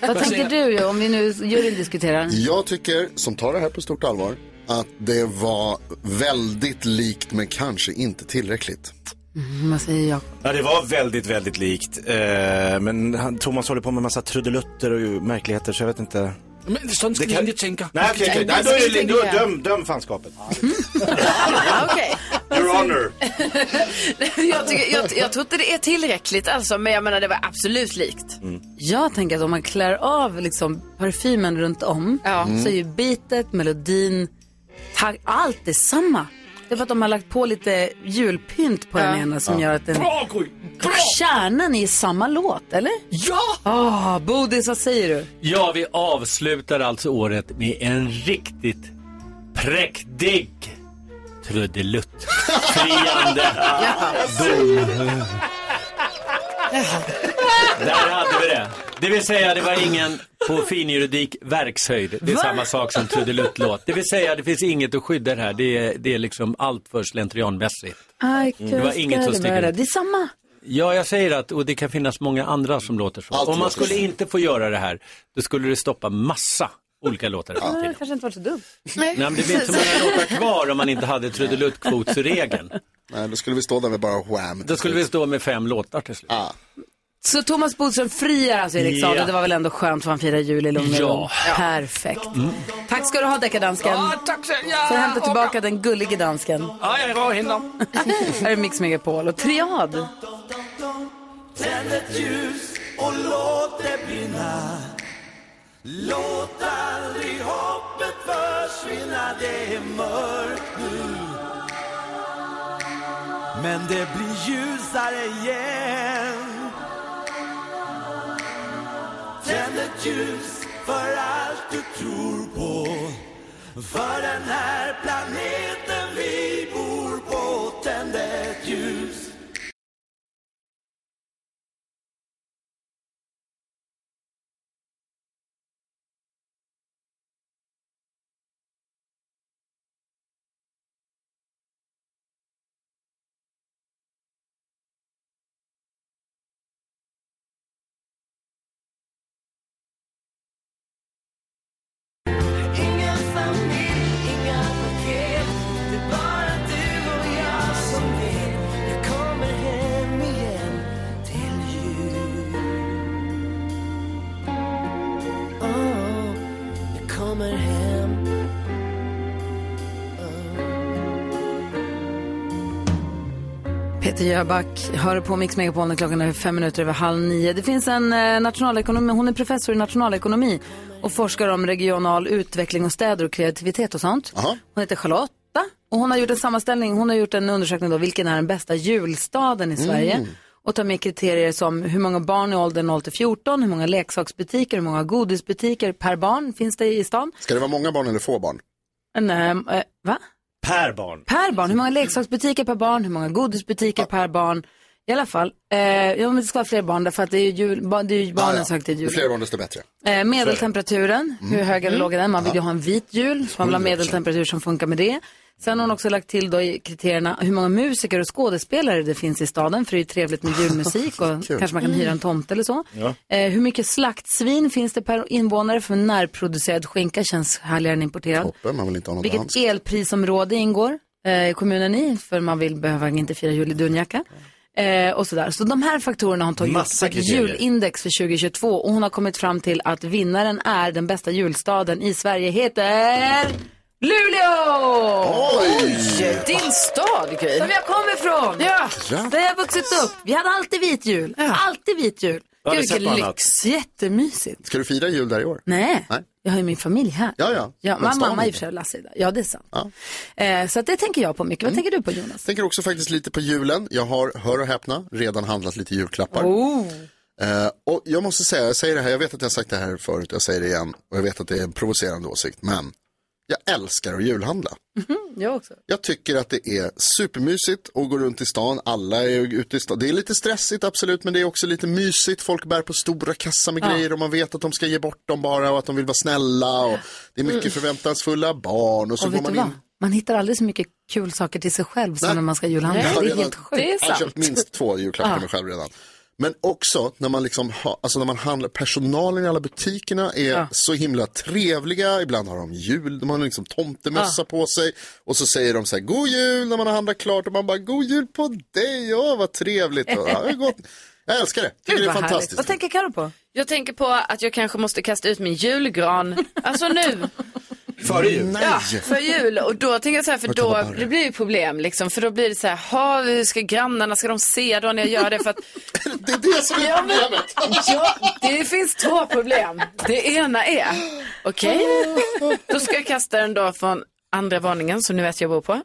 Speaker 1: Vad tänker du ju, om vi nu juryn diskuterar?
Speaker 4: Jag tycker, som tar det här på stort allvar, att det var väldigt likt men kanske inte tillräckligt.
Speaker 1: Mm, vad säger jag?
Speaker 6: Ja, det var väldigt, väldigt likt. Eh, men han, Thomas håller på med massa trudelutter och märkligheter så jag vet inte.
Speaker 12: Men sånt ska
Speaker 6: kan-
Speaker 12: vi inte tänka.
Speaker 6: Nej, okej, okej. Nej, då är det- då är döm, döm fanskapet. Your honor.
Speaker 16: jag, tycker, jag, jag tror inte det är tillräckligt alltså, men jag menar det var absolut likt.
Speaker 1: Jag tänker att om man klär av liksom parfymen runt om
Speaker 16: Mm.
Speaker 1: så är ju bitet, melodin, ta- allt det samma. Det är för att de har lagt på lite julpynt på den ena som gör att den...
Speaker 12: Bra, Gry!
Speaker 1: Kärnan är i samma låt, eller?
Speaker 12: Ja!
Speaker 1: Ah, Bodis, vad säger du?
Speaker 14: Ja, vi avslutar alltså året med en riktigt präktig trudelutt. Friande dom. Där hade vi det. Det vill säga, det var ingen på finjuridik verkshöjd. Det är
Speaker 7: Va?
Speaker 14: samma sak som trudeluttlåt. Det vill säga, det finns inget att skydda det här. Det är, det är liksom allt för slentrianmässigt.
Speaker 1: I
Speaker 14: Mm. Det var
Speaker 1: can't
Speaker 14: inget som
Speaker 1: stand
Speaker 14: sticker
Speaker 1: it.
Speaker 14: ut.
Speaker 1: Det är samma.
Speaker 14: Ja, jag säger att, och det kan finnas många andra som låter så.
Speaker 1: Allt
Speaker 14: Om man
Speaker 1: låter
Speaker 14: skulle
Speaker 1: så.
Speaker 14: inte få göra det här, då skulle det stoppa massa olika låtar. i
Speaker 1: Det
Speaker 14: framtiden.
Speaker 1: kanske inte var så dumt.
Speaker 14: Nej, men det blir inte så många låtar kvar om man inte hade trudeluttkvotsregeln.
Speaker 4: Nej, då skulle vi stå där med bara wham.
Speaker 14: Då skulle vi stå med fem låtar till slut.
Speaker 1: Så Thomas Bodström friar alltså Erik
Speaker 14: Ja.
Speaker 1: Saade. Det var väl ändå skönt för han firar jul i lugn och
Speaker 14: Ja.
Speaker 1: ro. Perfekt.
Speaker 4: Mm.
Speaker 1: Tack ska du ha deckardansken.
Speaker 12: Ja, tack så
Speaker 1: Får jag hämta tillbaka den gullige dansken.
Speaker 12: Ja, jag går och hämtar dem.
Speaker 1: Här är Mix Megapol och Triad.
Speaker 7: Tänd ett ljus och låt det brinna Låt aldrig hoppet försvinna Det är mörkt nu Men det blir ljusare igen Tänd ett ljus för allt du tror på För den här planeten vi bor på Tänd ett ljus Ingen familj, inga paket Det är bara du och jag som vet Jag kommer hem igen till jul Oh, jag kommer hem
Speaker 1: Peter Jöback hör på Mix Megapol när klockan är fem minuter över halv nio. Det finns en eh, nationalekonom, hon är professor i nationalekonomi och forskar om regional utveckling och städer och kreativitet och sånt. Hon heter Charlotta och hon har gjort en sammanställning, hon har gjort en undersökning då, vilken är den bästa julstaden i Sverige?
Speaker 7: Mm.
Speaker 1: Och tar med kriterier som hur många barn i åldern 0 till 14, hur många leksaksbutiker, hur många godisbutiker per barn finns det i stan?
Speaker 4: Ska det vara många barn eller få barn?
Speaker 1: Nej, eh, va?
Speaker 6: Per barn.
Speaker 1: Per barn, hur många leksaksbutiker per barn, hur många godisbutiker per barn. I alla fall, eh, ja, men det ska vara fler barn därför att det är ju, jul, ba, det är ju barnens högtid
Speaker 4: Ju
Speaker 1: jul.
Speaker 4: fler barn desto bättre.
Speaker 1: Eh, medeltemperaturen,
Speaker 4: Mm.
Speaker 1: hur hög eller
Speaker 4: Mm.
Speaker 1: låg är den? Man vill ju ha en vit jul, så man vill ha
Speaker 4: 100%.
Speaker 1: medeltemperatur som funkar med det. Sen har hon också lagt till då i kriterierna hur många musiker och skådespelare det finns i staden, för det är ju trevligt med julmusik och
Speaker 7: Kul.
Speaker 1: kanske man kan
Speaker 7: Mm.
Speaker 1: hyra en tomte eller så.
Speaker 7: Ja.
Speaker 1: Eh, hur mycket slaktsvin finns det per invånare, för närproducerad skinka känns härligare än importerad.
Speaker 4: Toppen, man vill inte ha något
Speaker 1: Vilket
Speaker 4: annat.
Speaker 1: elprisområde ingår eh, kommunen i? För man vill behöva inte fira jul i dunjacka. Eh, och sådär. Så de här faktorerna har hon tagit upp för
Speaker 7: Massa
Speaker 1: ett
Speaker 7: kriterier.
Speaker 1: julindex för 2022 och hon har kommit fram till att vinnaren är den bästa julstaden i Sverige heter Luleå!
Speaker 7: Oj!
Speaker 1: Din stad, Gry. Som jag kommer ifrån. Ja.
Speaker 7: Ja.
Speaker 1: Där jag har vuxit upp. Vi hade alltid vit jul. Alltid vit jul.
Speaker 4: Har du
Speaker 1: Gud,
Speaker 4: sett
Speaker 1: vilken
Speaker 4: något annat?
Speaker 1: lyx. Jättemysigt.
Speaker 4: Ska du fira jul där i år?
Speaker 1: Nej,
Speaker 4: Nej.
Speaker 1: jag har ju min familj här.
Speaker 4: Ja, ja.
Speaker 1: Ja,
Speaker 4: Men
Speaker 1: mamma,
Speaker 4: stan
Speaker 1: mamma i och
Speaker 4: inte.
Speaker 1: för sig och Lasse idag. Ja, det är sant. Eh, så att det tänker jag på mycket. Vad tänker du på Jonas?
Speaker 4: tänker också faktiskt lite på julen. Jag har, hör och häpna, redan handlat lite julklappar.
Speaker 1: Oh.
Speaker 4: Eh, och jag måste säga, jag säger det här, jag vet att jag har sagt det här förut, jag säger det igen och jag vet att det är en provocerande åsikt, men jag älskar att julhandla.
Speaker 1: Mm-hmm. Jag också.
Speaker 4: Jag tycker att det är supermysigt att gå runt i stan, alla är ju ute i stan. Det är lite stressigt absolut, men det är också lite mysigt. Folk bär på stora kassar med
Speaker 7: Ja.
Speaker 4: grejer och man vet att de ska ge bort dem bara och att de vill vara snälla. Och det är mycket
Speaker 1: Mm.
Speaker 4: förväntansfulla barn och så
Speaker 1: och
Speaker 4: går
Speaker 1: vet
Speaker 4: man
Speaker 1: du
Speaker 4: in
Speaker 1: vad? Man hittar aldrig så mycket kul saker till sig själv som när man ska julhandla.
Speaker 4: Jag har
Speaker 1: det är
Speaker 4: redan-
Speaker 1: helt sjukt.
Speaker 4: Jag har köpt minst två julklappar till mig själv redan. Men också när man, liksom ha, alltså när man handlar, personalen i alla butikerna är
Speaker 21: Ja.
Speaker 4: så himla trevliga. Ibland har de jul, de har liksom tomtemössa
Speaker 21: Ja.
Speaker 4: på sig. Och så säger de så här, god jul när man har handlat klart. Och man bara, god jul på dig, åh vad trevligt. Och, ja, det är gott. Jag älskar det, tycker det är fantastiskt.
Speaker 1: tänker Karo på?
Speaker 5: Jag tänker på att jag kanske måste kasta ut min julgran, alltså nu.
Speaker 6: Före jul?
Speaker 5: Ja, för jul. Och då tänker jag så här, för
Speaker 6: Vart var
Speaker 5: då
Speaker 6: Barbro?
Speaker 5: det blir ju problem liksom. För då blir det så här, ha, hur ska grannarna, ska de se då när jag gör det? För att...
Speaker 4: det är det som är problemet.
Speaker 5: ja, det finns två problem. Det ena är, okej, då ska jag kasta den då från andra våningen som ni vet jag bor på.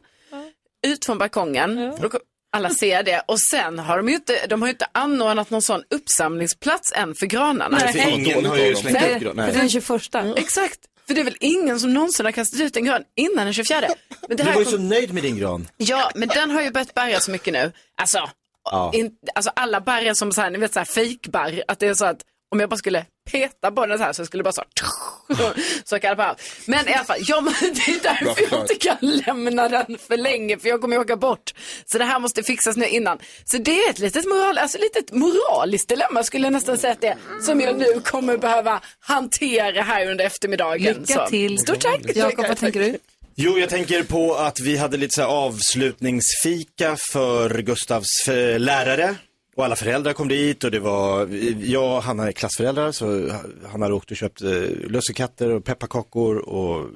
Speaker 5: Ut från balkongen. För då kom- Alla ser det. Och sen har de ju inte, de har ju inte anordnat någon sån uppsamlingsplats än för granarna.
Speaker 1: Nej. Nej, för ingen har ju slängt
Speaker 5: Nej, Mm.
Speaker 1: upp gran- nej. för den 21.
Speaker 5: Exakt. För det är väl ingen som någonsin har kastat ut en gran innan den 24. Men det
Speaker 6: Du
Speaker 5: här
Speaker 6: var ju
Speaker 5: kom-
Speaker 6: så nöjd med din gran.
Speaker 5: Ja, men den har ju börjat bärga så mycket nu. Alltså,
Speaker 6: Ja.
Speaker 5: in, alltså alla barrar som så här, ni vet så här fejkbarr, att det är så att om jag bara skulle peta på den så här så skulle det bara så här, så kan jag bara. Men i alla fall, jag, det är
Speaker 1: Bra
Speaker 5: därför jag
Speaker 1: förklarat.
Speaker 5: inte kan lämna den för länge för jag kommer ju åka bort. Så det här måste fixas nu innan. Så det är ett litet, moral, alltså litet moraliskt dilemma skulle jag nästan säga att det är, som jag nu kommer behöva hantera här under eftermiddagen.
Speaker 1: Lycka
Speaker 5: Så,
Speaker 1: till.
Speaker 5: Stort tack.
Speaker 1: Jakob, vad tänker du?
Speaker 6: Jo, jag tänker på att vi hade lite så här avslutningsfika för Gustavs eh, lärare. Och alla föräldrar kom dit och det var, jag och Hanna är klassföräldrar så Hanna hade åkt och köpt eh, lussekatter och pepparkakor och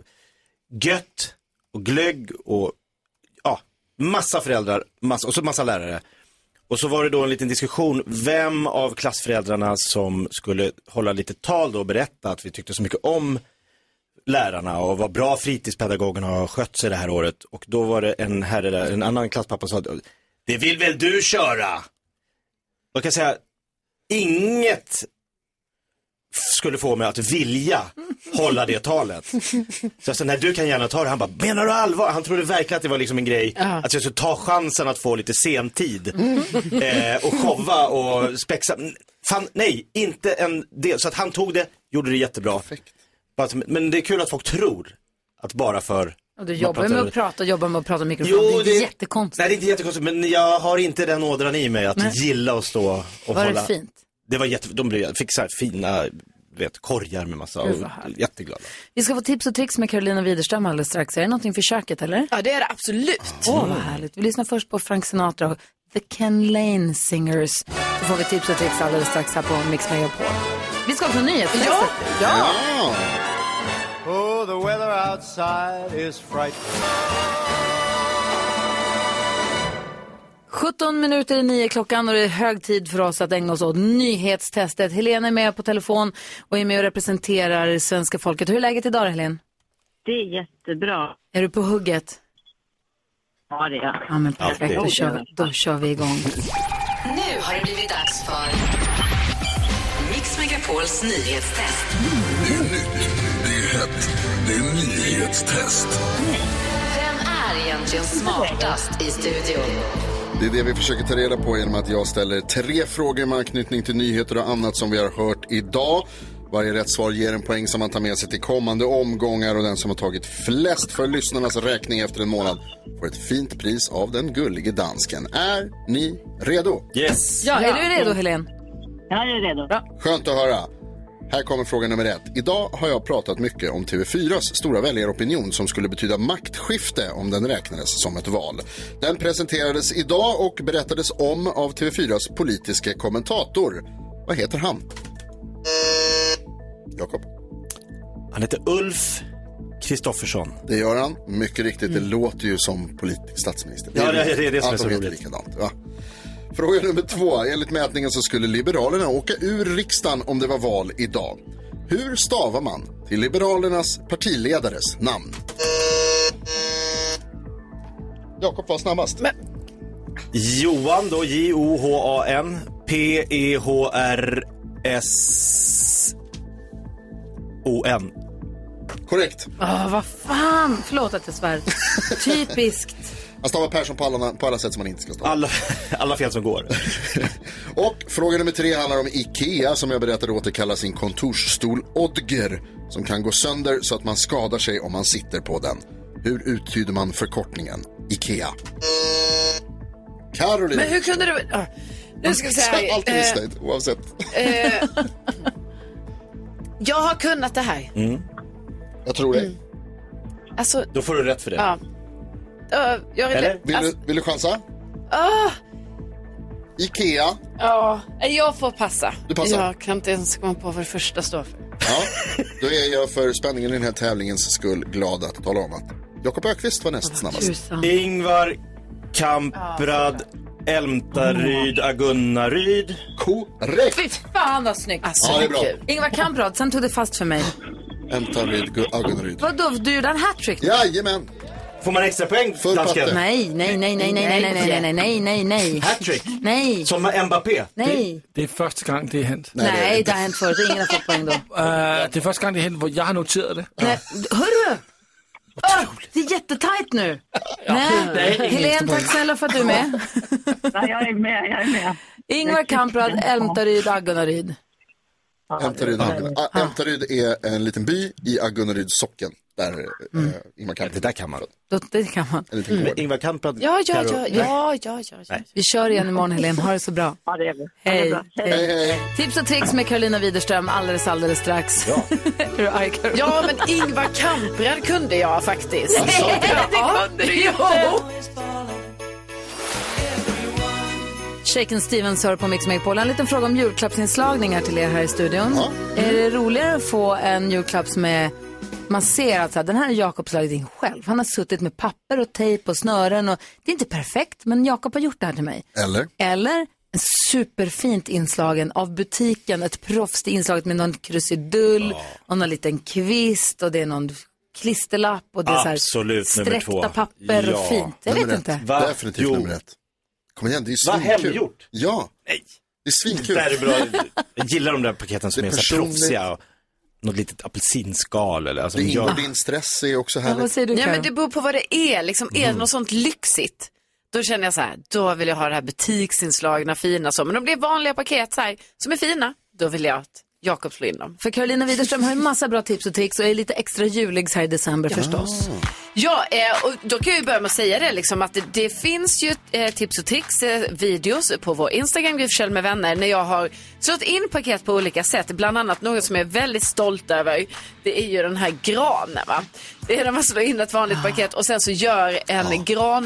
Speaker 6: gött och glögg och ja, massa föräldrar massa, och så massa lärare. Och så var det då en liten diskussion, vem av klassföräldrarna som skulle hålla lite tal då och berätta att vi tyckte så mycket om lärarna och vad bra fritidspedagogerna har skött sig det här året. Och då var det en herre, där, en annan klasspappa som sa, det vill väl du köra? Då kan jag säga, inget skulle få mig att vilja hålla det talet. Så jag sa, nej du kan gärna ta det. Han bara, menar du allvar? Han trodde verkligen att det var liksom en grej, att jag skulle ta chansen att få lite sentid. Eh, och showa och spexa. Fan, nej, inte en del. Så att han tog det, gjorde det jättebra. Bara som- Men det är kul att folk tror att bara för...
Speaker 1: Och du
Speaker 6: man
Speaker 1: jobbar ju med
Speaker 6: pratar-
Speaker 1: att prata och jobbar med att prata i mikrofon. det är inte jättekonstigt.
Speaker 6: Nej, det är inte jättekonstigt, men jag har inte den ådran i mig att
Speaker 1: Nej.
Speaker 6: gilla att stå och
Speaker 1: Var det
Speaker 6: hålla.
Speaker 1: fint?
Speaker 6: Det var jätte... De blev... fick så här fina, du vet, korgar med massa,
Speaker 1: Gud,
Speaker 6: och
Speaker 1: vad härligt.
Speaker 6: jätteglada.
Speaker 1: Vi ska få tips och tricks med Carolina Widerström alldeles strax. Är det någonting för köket eller?
Speaker 5: Ja, det är det absolut.
Speaker 1: Åh, vad härligt. Vi lyssnar först på Frank Sinatra och The Ken Lane Singers. Så får vi tips och tricks alldeles strax här på Mix Megapol. Vi ska på nyhetstestet.
Speaker 22: Ja,
Speaker 1: ja.
Speaker 22: Oh, the weather outside is frightful.
Speaker 1: 17 minuter i nio klockan och det är hög tid för oss att ägna oss åt nyhetstestet. Helene är med på telefon och är med och representerar svenska folket. Hur är läget idag Helene?
Speaker 10: Det är jättebra.
Speaker 1: Är du på hugget?
Speaker 10: Ja, det är
Speaker 1: Ja men perfekt, då kör vi, då kör vi igång.
Speaker 7: Nu har det blivit dags för Mix Megapols nyhetstest.
Speaker 23: Det är nytt, det är hett, det är nyhetstest.
Speaker 7: Vem är egentligen smartast i studion?
Speaker 4: Det är det vi försöker ta reda på genom att jag ställer tre frågor med anknytning till nyheter och annat som vi har hört idag. Varje rätt svar ger en poäng som man tar med sig till kommande omgångar och den som har tagit flest för lyssnarnas räkning efter en månad får ett fint pris av den gullige dansken. Är ni redo?
Speaker 6: Yes!
Speaker 1: Ja, är du redo Helene?
Speaker 10: Jag är redo.
Speaker 4: Skönt att höra. Här kommer fråga nummer ett. Idag har jag pratat mycket om TV4s stora väljaropinion som skulle betyda maktskifte om den räknades som ett val. Den presenterades idag och berättades om av TV4s politiska kommentator. Vad heter han? Jakob.
Speaker 6: Han heter Ulf Kristoffersson. Mm.
Speaker 4: Det gör han. Mycket riktigt, det låter ju som Mm, politisk statsminister.
Speaker 6: Ja, det är- det är det som är
Speaker 4: Att de
Speaker 6: så
Speaker 4: heter
Speaker 6: roligt.
Speaker 4: Likadant, va? Fråga nummer två. Enligt mätningen så skulle Liberalerna åka ur riksdagen om det var val idag. Hur stavar man till Liberalernas partiledares namn? Jakob var snabbast.
Speaker 6: Johan då, J-O-H-A-N, E P-E-H-R-S-O-N.
Speaker 4: Korrekt.
Speaker 1: Åh, vad fan! Förlåt att jag svär. Typiskt.
Speaker 4: Han stavar Persson på alla, på alla sätt som man inte ska stava.
Speaker 6: Alla, alla fel som går.
Speaker 4: Och fråga nummer tre handlar om Ikea som jag berättade återkallar sin kontorsstol Odger som kan gå sönder så att man skadar sig om man sitter på den. Hur uttyder man förkortningen Ikea? Caroline.
Speaker 5: Men hur kunde du... ah, Nu ska vi säga,
Speaker 4: Alltid
Speaker 5: eh,
Speaker 4: missnöjd, oavsett.
Speaker 5: Eh, jag har kunnat det här.
Speaker 4: Jag tror det.
Speaker 5: Alltså,
Speaker 6: Mm. Då får du rätt för det.
Speaker 5: Mm. ja. Ö, jag vet
Speaker 4: Eller?
Speaker 5: inte.
Speaker 4: Vill
Speaker 5: Alltså,
Speaker 4: du, vill du chansa?
Speaker 5: ah,
Speaker 4: Ikea.
Speaker 5: ja, Nej, jag får passa.
Speaker 4: Du passar.
Speaker 5: Jag kan inte ens komma på vad det första står för.
Speaker 4: Ja, då är jag för spänningen i den här tävlingens skull glad att tala om att Jakob Ökvist var näst snabbast.
Speaker 6: Ingvar Kamprad Älmtaryd
Speaker 1: Mm.
Speaker 6: Agunnaryd.
Speaker 4: Korrekt!
Speaker 1: Fy fan vad snyggt.
Speaker 6: Alltså, Ja, det är bra. kul.
Speaker 1: Ingvar Kamprad, sen tog det fast för mig.
Speaker 4: Älmtaryd Agunnaryd.
Speaker 1: Vadå, du gjorde en hattrick?
Speaker 4: Jajamän!
Speaker 6: Får man extra poäng, dansken?
Speaker 1: Nej, nej, nej, nej, nej, nej, nej, nej, nej, nej, nej.
Speaker 6: Hattrick?
Speaker 1: Nej.
Speaker 6: Som Mbappé?
Speaker 1: Nej.
Speaker 8: Det är första gången det har hänt.
Speaker 1: Nej, det har hänt förut. Ingen har fått poäng då.
Speaker 8: Eh, det är första gången det har hänt, hvor jag har noterat det.
Speaker 1: Nej, hörru! Åh, det är jättetajt nu. Nej.
Speaker 8: ingen
Speaker 1: Helene,
Speaker 8: poäng.
Speaker 1: tack snälla för att du är med.
Speaker 24: jag är med, jag är med.
Speaker 1: Ingvar Kamprad, Älmtaryd, Aggunaryd.
Speaker 4: Ämtaryd, Ä- Ämtaryd är en liten by i Agunnaryds socken. Där
Speaker 1: Mm.
Speaker 4: eh, Ingmar Kamprad. Det där kan man.
Speaker 1: Då- Det kan man.
Speaker 4: En liten gård.
Speaker 6: Mm. Ingvar Kamprad.
Speaker 5: Ja, ja, ja, ja, ja, ja. ja.
Speaker 1: Vi kör igen imorgon, Helene. Ha det så bra.
Speaker 24: Ja, det är vi.
Speaker 1: Hej.
Speaker 5: bra.
Speaker 1: Hej. Tips och tricks med Carolina Widerström alldeles, alldeles strax. Ja. är du arg, Carolina?
Speaker 5: Ja, men Ingvar Kamprad kunde jag faktiskt.
Speaker 1: Alltså.
Speaker 5: Ja, det
Speaker 1: Jo. Shaken Stevens hör på Mix Megapol. En liten fråga om julklappsinslagningar till er här i studion. Är det roligare att få en julklapp som är man ser att så här, den här har Jakob slagit in själv. Han har suttit med papper och tejp och snören. Och, det är inte perfekt, men Jakob har gjort det här till mig.
Speaker 4: Eller?
Speaker 1: Eller en superfint inslagen av butiken, ett proffs. Det är inslaget med någon krusidull och någon liten kvist och det är någon klisterlapp och det är så här
Speaker 6: Absolut, nummer två.
Speaker 1: sträckta papper och fint. Jag
Speaker 4: Nummer
Speaker 1: vet
Speaker 4: ett.
Speaker 1: inte.
Speaker 6: Va?
Speaker 4: Definitivt
Speaker 6: Jo.
Speaker 4: nummer ett. Kom igen, det är ju
Speaker 6: Va,
Speaker 4: svinkul.
Speaker 6: hemgjort?
Speaker 4: Ja. Nej. Det
Speaker 6: Det
Speaker 4: är svinkul.
Speaker 6: där är bra. Jag gillar de där paketen som är,
Speaker 4: Det
Speaker 6: så
Speaker 4: är
Speaker 6: här
Speaker 4: personligt.
Speaker 6: proffsiga. och Något litet apelsinskal eller alltså,
Speaker 4: Det ingår
Speaker 6: jag-
Speaker 4: din stress är också härligt.
Speaker 5: Nej, men det beror på vad det är. Liksom, är det något sånt lyxigt, då känner jag så här, då vill jag ha det här butiksinslagna, fina så. Men om det är vanliga paket så här, som är fina, då vill jag att Jakob slår in dem.
Speaker 1: För Carolina Widerström har ju massa bra tips och tricks och är lite extra julig så här i december förstås.
Speaker 5: Ja, eh, och då kan jag ju börja med att säga det, liksom, att det, det finns ju eh, tips och tricks, eh, videos på vår Instagram, Gry Forssell med vänner, när jag har slått in paket på olika sätt. Bland annat något som jag är väldigt stolt över, det är ju den här granen. Va? Det är när man slår in ett vanligt paket och sen så gör en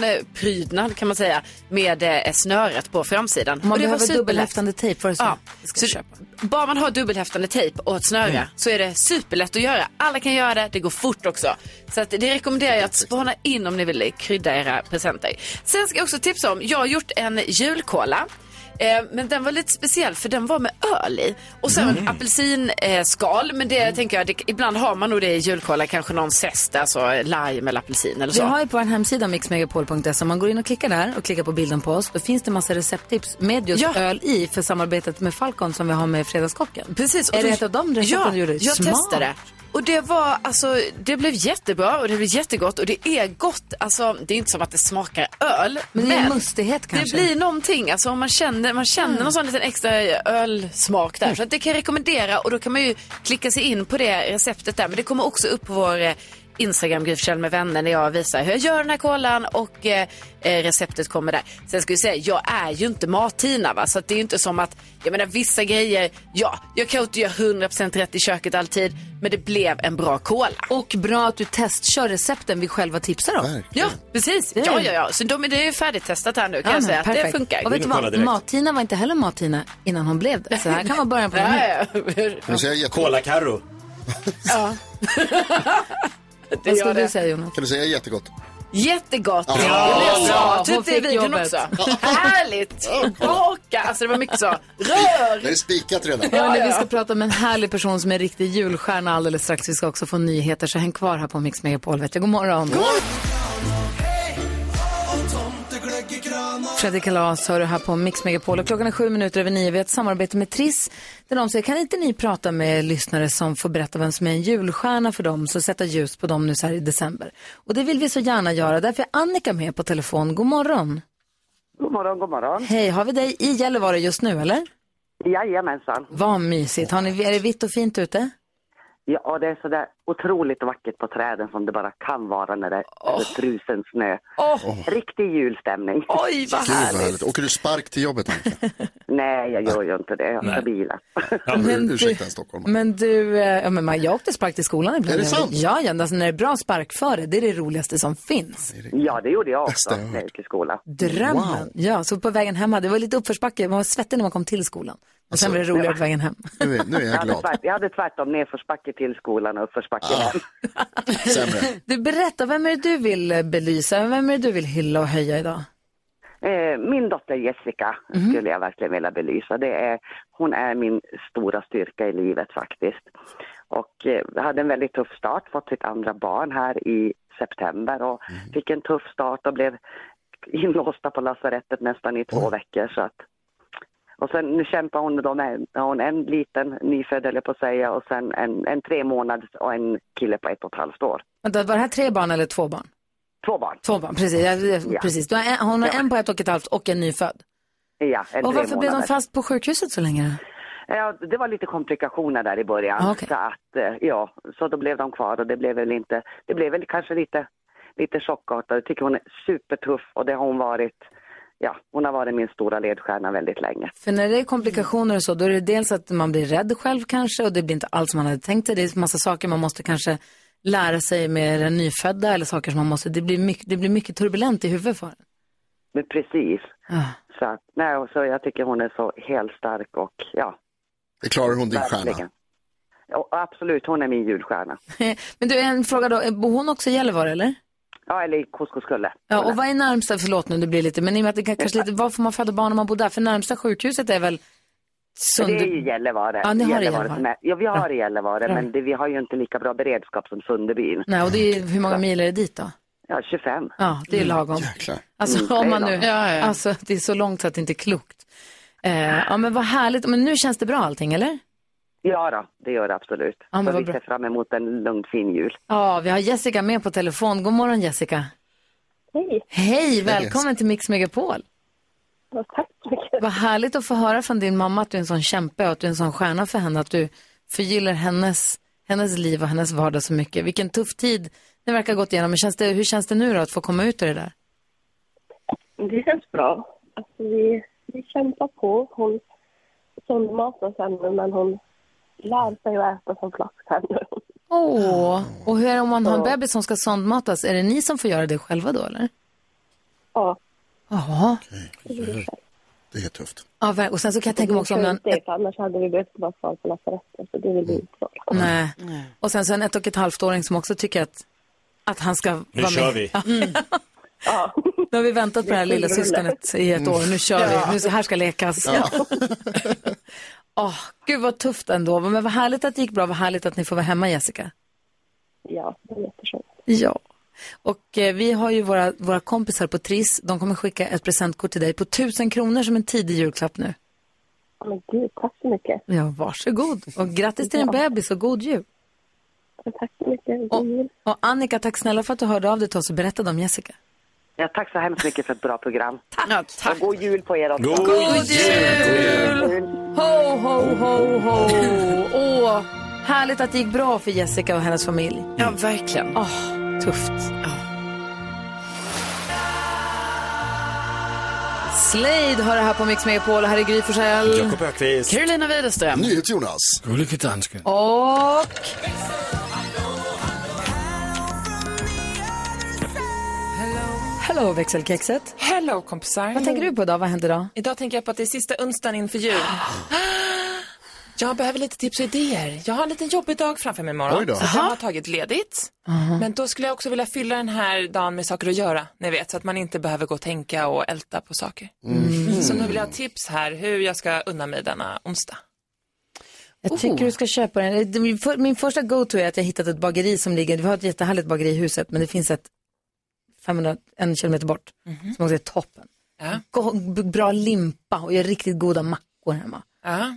Speaker 5: granprydnad kan man säga, med eh, snöret på framsidan.
Speaker 1: Om man
Speaker 5: och det var
Speaker 1: behöver
Speaker 5: superlätt.
Speaker 1: dubbelhäftande tejp, var det så?
Speaker 5: Ja, så bara man har dubbelhäftande tejp och ett snöre så är det superlätt att göra. Alla kan göra det, det går fort också. Så att det rekommenderar jag att spana in om ni vill krydda era presenter. Sen ska jag också tipsa om, jag har gjort en julkola. Eh, men den var lite speciell för den var med öl i. Och sen
Speaker 21: Mm.
Speaker 5: apelsinskal. Men det tänker jag, det, ibland har man nog det i julkola. Kanske någon zest, alltså eh, lime eller apelsin eller
Speaker 1: Vi
Speaker 5: så.
Speaker 1: har ju på vår hemsida mixmegapol.se, om man går in och klickar där och klickar på bilden på oss, då finns det massa recepttips med just öl i för samarbetet med Falcon som vi har med Fredagskocken.
Speaker 5: Precis. och
Speaker 1: Är
Speaker 5: då-
Speaker 1: det ett av de recepten
Speaker 5: ja,
Speaker 1: du gjorde?
Speaker 5: jag
Speaker 1: Smart.
Speaker 5: testade. det. Och det var, alltså, det blev jättebra och det blev jättegott och det är gott. Alltså, det är inte som att det smakar öl.
Speaker 1: Men det är mustighet kanske?
Speaker 5: Det blir någonting, alltså om man känner, man känner någon sån liten extra ölsmak där. Så att det kan jag rekommendera och då kan man ju klicka sig in på det receptet där. Men det kommer också upp på vår eh, Instagram, Gry Forssell med vänner, när jag visar hur jag gör den här kolan och eh, eh, receptet kommer där. Sen ska jag säga, jag är ju inte mattina va, så att det är ju inte som att, jag menar vissa grejer, ja, jag kan ju inte göra 100% rätt i köket alltid, men det blev en bra kola.
Speaker 1: Och bra att du testkör recepten vi själva tipsar om.
Speaker 5: Ja, precis.
Speaker 1: Det är-
Speaker 5: Ja, ja, ja. Så de, det är ju färdigtestat här nu kan
Speaker 1: Ja,
Speaker 5: jag
Speaker 1: men
Speaker 5: säga.
Speaker 1: perfekt.
Speaker 5: Det funkar.
Speaker 1: Och vet du vad, Martina var inte heller Martina innan hon blev det. Så här kan man börja på
Speaker 5: Ja,
Speaker 1: den
Speaker 4: Nu säger jag jätte...
Speaker 6: Kola Karo.
Speaker 5: Ja.
Speaker 1: Vad
Speaker 5: gör
Speaker 1: skulle du
Speaker 5: det.
Speaker 1: säga Jonas?
Speaker 4: Kan du säga jättegott?
Speaker 5: Jättegott.
Speaker 4: Ja.
Speaker 5: Det
Speaker 1: Ja,
Speaker 5: sa
Speaker 1: hon
Speaker 5: typ det i
Speaker 1: fick
Speaker 5: videon
Speaker 1: jobbet.
Speaker 5: också. Härligt. Baka. Alltså det var mycket så. Rör.
Speaker 4: Det är spikat redan.
Speaker 1: Ja, men Vi ska prata med en härlig person som är en riktig julstjärna alldeles strax. Vi ska också få nyheter, så häng kvar här på Mix Megapol. Vet jag. God morgon! Fredrik Kalas hör du här på Mix Megapol. Och klockan är sju minuter över nio. Vi har ett samarbete med Triss. Där de säger, kan inte ni prata med lyssnare som får berätta vem som är en julstjärna för dem, så sätta ljus på dem nu så här i december. Och det vill vi så gärna göra. Därför är Annika med på telefon. God morgon!
Speaker 21: God morgon, god morgon.
Speaker 1: Hej, har vi dig i Gällivare just nu eller?
Speaker 21: Jajamensan.
Speaker 1: Vad mysigt. Har ni, är det vitt och fint ute?
Speaker 21: Ja, det är sådär otroligt vackert på träden som det bara kan vara när det är oh. frusen snö.
Speaker 4: Åh.
Speaker 21: Riktig julstämning.
Speaker 16: Oj,
Speaker 4: Gud, vad härligt. Åker du spark till jobbet? Annika?
Speaker 21: Nej, jag gör ju inte det. Jag ska bila.
Speaker 4: Ur- Ursäkta en stockholmare.
Speaker 1: Men du, eh, ja, men man- jag åkte spark till skolan ibland.
Speaker 21: Är det sant?
Speaker 1: Ja, ja, alltså när det är bra sparkföre, det är det roligaste som finns.
Speaker 21: Ja, det gjorde jag också
Speaker 1: Bästa jag
Speaker 21: när jag gick i skolan.
Speaker 1: Drömmen. Ja, så på vägen hem, hade- det var lite uppförsbacke, man var svettig när man kom till skolan. Men
Speaker 21: Alltså,
Speaker 1: sen var det roligare på vägen hem.
Speaker 4: Nu är, nu är jag
Speaker 21: hade
Speaker 4: glad.
Speaker 21: tvärt- jag hade tvärtom nedförsbacke till skolan och uppförsbacke hem.
Speaker 1: Du, berätta, vem är det du vill eh, belysa? Vem är det du vill hylla och höja idag?
Speaker 21: Eh, Min dotter Jessica
Speaker 1: Mhm.
Speaker 21: skulle jag verkligen vilja belysa. Det är, hon är min stora styrka i livet faktiskt. Och eh, jag hade en väldigt tuff start, fått sitt andra barn här i september och
Speaker 1: Mhm.
Speaker 21: fick en tuff start och blev inlåsta på lasarettet nästan i två veckor. Så att, och sen nu kämpar hon då med har hon en liten nyfödd, eller på att säga, och sen en, en tre månaders och en kille på ett och ett halvt år.
Speaker 1: Vänta, var det här tre barn eller två barn?
Speaker 21: Två barn.
Speaker 1: Två barn, precis. Jag, jag,
Speaker 21: Ja.
Speaker 1: precis. Du har en, hon har en på ett och ett halvt och en nyfödd.
Speaker 21: Ja, en
Speaker 1: Och
Speaker 21: tre
Speaker 1: varför blev de
Speaker 21: månader.
Speaker 1: fast på sjukhuset så länge?
Speaker 21: Ja, det var lite komplikationer där i början. Så, att, eh, ja, så då blev de kvar och det blev väl inte, det blev väl kanske lite, lite chockartat. Jag tycker hon är supertuff och det har hon varit, ja, hon har varit min stora ledstjärna väldigt länge.
Speaker 1: För när det är komplikationer och så, då är det dels att man blir rädd själv kanske och det blir inte allt som man hade tänkt sig. Det är massa saker man måste kanske lära sig med den nyfödda eller saker som man måste, det blir mycket, det blir mycket turbulent i huvudet för en.
Speaker 21: Men precis. Så, att, nej, och så jag tycker hon är så helt stark och ja.
Speaker 4: Det klarar hon, din stjärna?
Speaker 21: Ja, absolut, hon är min julstjärna.
Speaker 1: Men du, en fråga då, bor hon också i Gällivare eller?
Speaker 21: Ja, eller i Koskoskulle.
Speaker 1: Ja, och vad är närmsta, förlåt nu det blir lite, men i och med att det kan- kanske lite, var får man föda barn om man bor där? För närmsta sjukhuset är väl Sund...
Speaker 21: Det är ju Gällivare.
Speaker 1: Ja, ni har det i
Speaker 21: som
Speaker 1: Gällivare.
Speaker 21: är, ja, vi har det i Gällivare,
Speaker 1: Bra.
Speaker 21: men det, vi har ju inte lika bra beredskap som Sunderbyn.
Speaker 1: Nej, och det är, hur många mil är det dit då?
Speaker 21: Ja, Mm. 25.
Speaker 1: Ja, det är lagom. Alltså
Speaker 21: Mm, det är
Speaker 1: om man nu,
Speaker 21: lagom. Ja, ja.
Speaker 1: alltså det är så långt så att det inte är klokt. Eh, ja men vad härligt, men nu känns det bra allting eller?
Speaker 21: Ja, då, det gör det absolut.
Speaker 1: men
Speaker 21: så
Speaker 1: vad
Speaker 21: vi
Speaker 1: bra.
Speaker 21: ser fram emot en lugn, fin jul.
Speaker 1: Ja, vi har Jessica med på telefon. God morgon Jessica. Hej. Hej, välkommen till Mix Megapol.
Speaker 9: Tack så mycket.
Speaker 1: Vad härligt att få höra från din mamma att du är en sån kämpe och att du är en sån stjärna för henne, att du förgyller hennes, hennes liv och hennes vardag så mycket. Vilken tuff tid ni verkar ha gått igenom, men känns det, hur känns det nu då att få komma ut ur det där?
Speaker 9: Det känns bra. Alltså, vi, vi kämpar på. Hon sondmatas ännu, men hon lär sig att äta som flasktänder.
Speaker 1: Åh, och hur är det om man har en
Speaker 9: Ja.
Speaker 1: bebis som ska sondmatas? Är det ni som får göra det själva då eller?
Speaker 9: Ja.
Speaker 1: Jaha.
Speaker 4: Det är tufft.
Speaker 1: Ja, ver- och sen så kan jag tänka mig också om
Speaker 9: Det är
Speaker 1: man...
Speaker 9: skönt det, för annars hade vi behövt vara kvar på lasarettet, så det vill vi inte vara.
Speaker 1: Nej. Och sen så en ett och ett halvt åring som också tycker att, att han ska
Speaker 6: Nu
Speaker 1: vara
Speaker 6: kör
Speaker 1: med.
Speaker 6: vi.
Speaker 1: Ja. Nu har vi väntat på det här
Speaker 9: Mm. Det är
Speaker 1: lilla
Speaker 9: kul,
Speaker 1: syskonet i ett
Speaker 9: Mm.
Speaker 1: år. Nu kör
Speaker 9: Ja.
Speaker 1: vi. Nu så här ska lekas.
Speaker 9: Ja.
Speaker 1: Ja. Åh, gud vad tufft ändå. Men vad härligt att det gick bra. Vad härligt att ni får vara hemma Jessica.
Speaker 9: Ja, det är jätteskönt.
Speaker 1: Ja. Och eh, vi har ju våra, våra kompisar på Triss. De kommer skicka ett presentkort till dig på tusen kronor som en tidig julklapp nu.
Speaker 9: Ja, Men gud, tack så mycket.
Speaker 1: Ja, varsågod. Och grattis till din
Speaker 9: Ja.
Speaker 1: bebis och god jul.
Speaker 9: Tack så mycket.
Speaker 1: Och, och Annika, tack snälla för att du hörde av dig till oss och berättade om Jessica.
Speaker 21: Ja, tack så hemskt mycket för ett bra program. tack. Och god jul på er också.
Speaker 1: God God jul! Ho, ho, ho, ho. Åh, härligt att det gick bra för Jessica och hennes familj.
Speaker 16: Ja, verkligen.
Speaker 1: Åh, tufft. Slade har det här på Mix Megapol. Här är Gry Forssell.
Speaker 6: Jakob Öqvist.
Speaker 16: Carolina Widerström.
Speaker 4: NyhetsJonas.
Speaker 8: Gullige dansken.
Speaker 1: Och... Hello växelkexet.
Speaker 25: Hello kompisar.
Speaker 1: Vad tänker du på idag? Vad händer idag?
Speaker 25: Idag tänker jag på att det är sista onsdagen inför jul. Jag behöver lite tips och idéer. Jag har en liten jobbig dag framför mig
Speaker 1: Oj
Speaker 25: imorgon.
Speaker 1: då.
Speaker 25: Så jag
Speaker 1: Jaha.
Speaker 25: har tagit ledigt.
Speaker 1: Aha.
Speaker 25: Men då skulle jag också vilja fylla den här dagen med saker att göra, ni vet, så att man inte behöver gå och tänka och älta på saker.
Speaker 1: Mm.
Speaker 25: Så nu vill jag ha tips här hur jag ska unna mig denna onsdag.
Speaker 1: Jag tycker du ska köpa den. Det- min för- Min första go-to är att jag hittat ett bageri som ligger, vi har ett jättehärligt bageri i huset, men det finns ett 500, en kilometer bort, som också är toppen. Gå- b- Bra limpa och gör riktigt goda mackor hemma.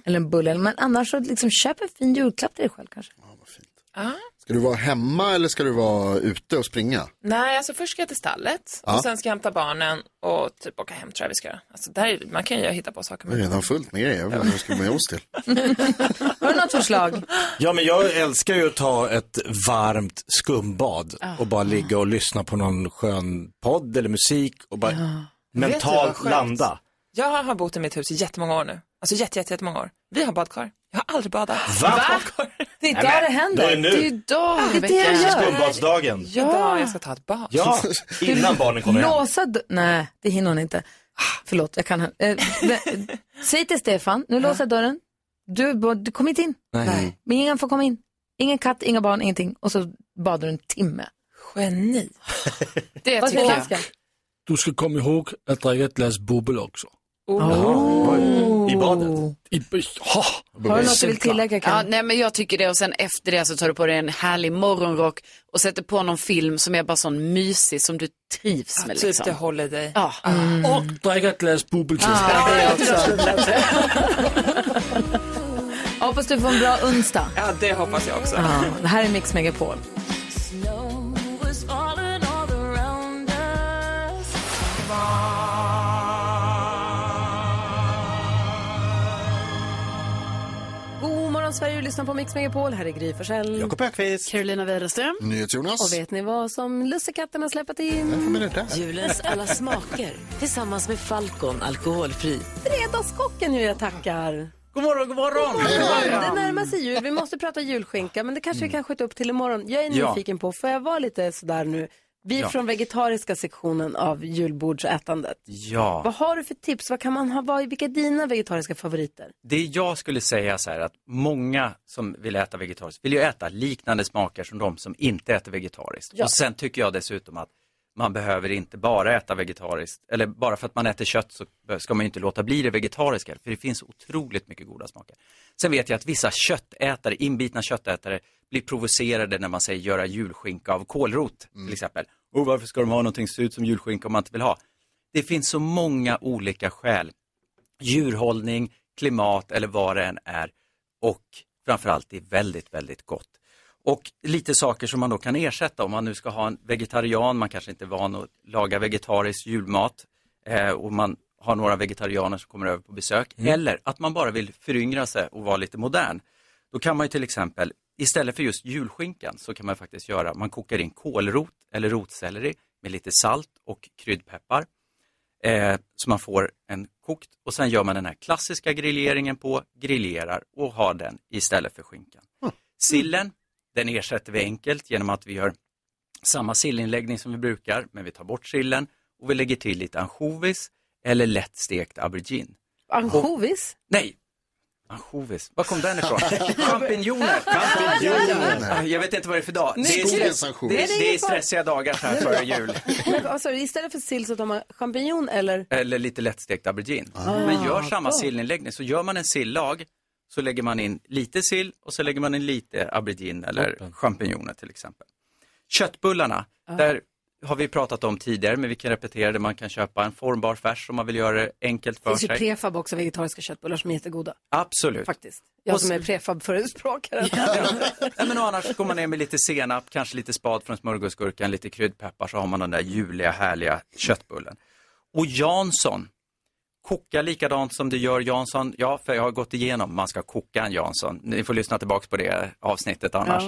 Speaker 1: Eller en bulle, Eller- men annars så liksom köp en fin julklapp till dig själv kanske.
Speaker 4: Ska du vara hemma eller ska du vara ute och springa?
Speaker 25: Nej, alltså först ska jag till stallet
Speaker 4: Ja.
Speaker 25: och sen ska jag hämta barnen och typ åka hem tror jag vi ska göra. Alltså där är, man kan ju hitta på saker.
Speaker 4: Jag är redan fullt med grejer. Jag vet inte vad jag ska med oss till.
Speaker 1: Har du något förslag?
Speaker 6: Ja, men jag älskar ju att ta ett varmt skumbad och bara ligga och lyssna på någon skön podd eller musik och bara
Speaker 25: Vet
Speaker 6: mentalt
Speaker 25: du vad skönt?
Speaker 6: landa.
Speaker 25: Jag har bott i mitt hus i jättemånga år nu. Alltså jätte, jätte, jättemånga år. Vi har badkar. Jag har aldrig badat.
Speaker 6: Va?
Speaker 1: Det är idag
Speaker 6: Nej, men,
Speaker 1: det händer.
Speaker 6: då är det nu.
Speaker 1: Det är idag,
Speaker 25: Det är det jag
Speaker 1: Rebecka.
Speaker 25: gör.
Speaker 6: Skumbadsdagen.
Speaker 25: Ja. Idag jag ska ta ett bad.
Speaker 6: Ja, innan barnen kommer hem.
Speaker 1: Låsa dö- Nej, det hinner hon inte. Förlåt, jag kan... Eh, vä- Säg till Stefan, nu låser jag dörren. Du, bo- du kom inte in.
Speaker 6: Nej.
Speaker 1: Men ingen får komma in. Ingen katt, inga barn, ingenting. Och så badar du en timme.
Speaker 25: Geni. Det
Speaker 1: Vad säger
Speaker 25: tycker jag.
Speaker 1: dansken?
Speaker 12: Du ska komma ihåg att dricka ett glas bubbel också.
Speaker 1: Oh.
Speaker 6: I badet?
Speaker 12: I, ha!
Speaker 16: Ja, nej, men jag tycker det och sen efter det så tar du på dig en härlig morgonrock och sätter på någon film som är bara sån mysig som du trivs med.
Speaker 25: typ
Speaker 16: Liksom.
Speaker 25: det håller dig.
Speaker 16: Ja.
Speaker 12: Och dricka ett glas bubbel till.
Speaker 1: Ah, Jag hoppas du får en bra onsdag.
Speaker 25: Ja, det hoppas jag också.
Speaker 1: Ja, det här är Mix Megapol.
Speaker 20: Snow was falling all around us.
Speaker 1: God morgon Sverige, du lyssnar på Mix Megapol. Här är Gry Forssell.
Speaker 6: Jakob Öqvist.
Speaker 1: Carolina Widerström.
Speaker 4: NyhetsJonas.
Speaker 1: Och vet ni vad som lussekatterna släpat in?
Speaker 13: Julens alla smaker tillsammans med Falcon alkoholfri.
Speaker 1: Fredagskocken hur jag tackar.
Speaker 13: God morgon, god morgon! Mm.
Speaker 1: Det närmar sig jul. Vi måste prata julskinka, men det kanske vi kan skjuta upp till imorgon. Jag är
Speaker 13: Ja.
Speaker 1: nyfiken på, får jag vara lite sådär nu? Vi
Speaker 13: Ja.
Speaker 1: från vegetariska sektionen av julbordsätandet. Vad
Speaker 17: Ja,
Speaker 1: har du för tips? Vad kan man ha? Vad, vilka är dina vegetariska favoriter?
Speaker 17: det jag skulle säga så här att många som vill äta vegetariskt vill ju äta liknande smaker som de som inte äter vegetariskt.
Speaker 1: Ja.
Speaker 17: Och sen tycker jag dessutom att man behöver inte bara äta vegetariskt, eller bara för att man äter kött så ska man ju inte låta bli det vegetariska, för det finns otroligt mycket goda smaker. Sen vet jag att vissa köttätare, inbitna köttätare, blir provocerade när man säger göra julskinka av kålrot till exempel. Och varför ska de ha någonting som ser ut som julskinka om man inte vill ha? Det finns så många olika skäl djurhållning, klimat eller vad det än är. Och framförallt, det är väldigt, väldigt gott. Och lite saker som man då kan ersätta om man nu ska ha en vegetarian, man kanske inte är van att laga vegetarisk julmat eh, och man har några vegetarianer som kommer över på besök. Eller att man bara vill föryngra sig och vara lite modern. Då kan man ju till exempel, istället för just julskinkan så kan man faktiskt göra, man kokar in kålrot eller rotselleri med lite salt och kryddpeppar eh, så man får en kokt och sen gör man den här klassiska grilleringen på, grillerar och har den istället för skinkan. Sillen, den ersätter vi enkelt genom att vi gör samma sillinläggning som vi brukar, men vi tar bort sillen och vi lägger till lite ansjovis eller lätt stekt aubergine.
Speaker 1: Ansjovis?
Speaker 17: Nej, ansjovis, var kom den ifrån? Champinjoner!
Speaker 1: Champinjoner.
Speaker 17: Ah, Jag vet inte vad det är för dag. Det
Speaker 1: Nej,
Speaker 17: är,
Speaker 1: Skogens
Speaker 17: stress,
Speaker 1: ansjovis.
Speaker 17: det
Speaker 1: Nej, det är
Speaker 17: är, det är
Speaker 1: ingen fara.
Speaker 17: stressiga dagar så här före jul.
Speaker 1: Men, alltså, istället för sill så tar man champinjon eller?
Speaker 17: Eller lite lättstekt aubergine.
Speaker 1: Ah.
Speaker 17: Men gör samma
Speaker 1: gott.
Speaker 17: sillinläggning, så gör man en sillag så lägger man in lite sill och så lägger man in lite aubergine eller champinjoner till exempel. Köttbullarna,
Speaker 13: Ah.
Speaker 17: där har vi pratat om tidigare men vi kan repetera det. Man kan köpa en formbar färs om man vill göra det enkelt
Speaker 1: Det
Speaker 17: för
Speaker 1: finns ju
Speaker 17: sig.
Speaker 1: prefab också, vegetariska köttbullar som är jättegoda.
Speaker 17: Absolut.
Speaker 1: Faktiskt. Jag
Speaker 17: Och
Speaker 1: som
Speaker 17: så-
Speaker 1: är prefab-förespråkare.
Speaker 17: Nej, men och annars går man ner med lite senap, kanske lite spad från smörgåsgurkan, lite kryddpeppar så har man den där juliga härliga köttbullen. Och Jansson, koka likadant som du gör Jansson. Ja, för jag har gått igenom, man ska koka en Jansson. Ni får lyssna tillbaka på det avsnittet annars.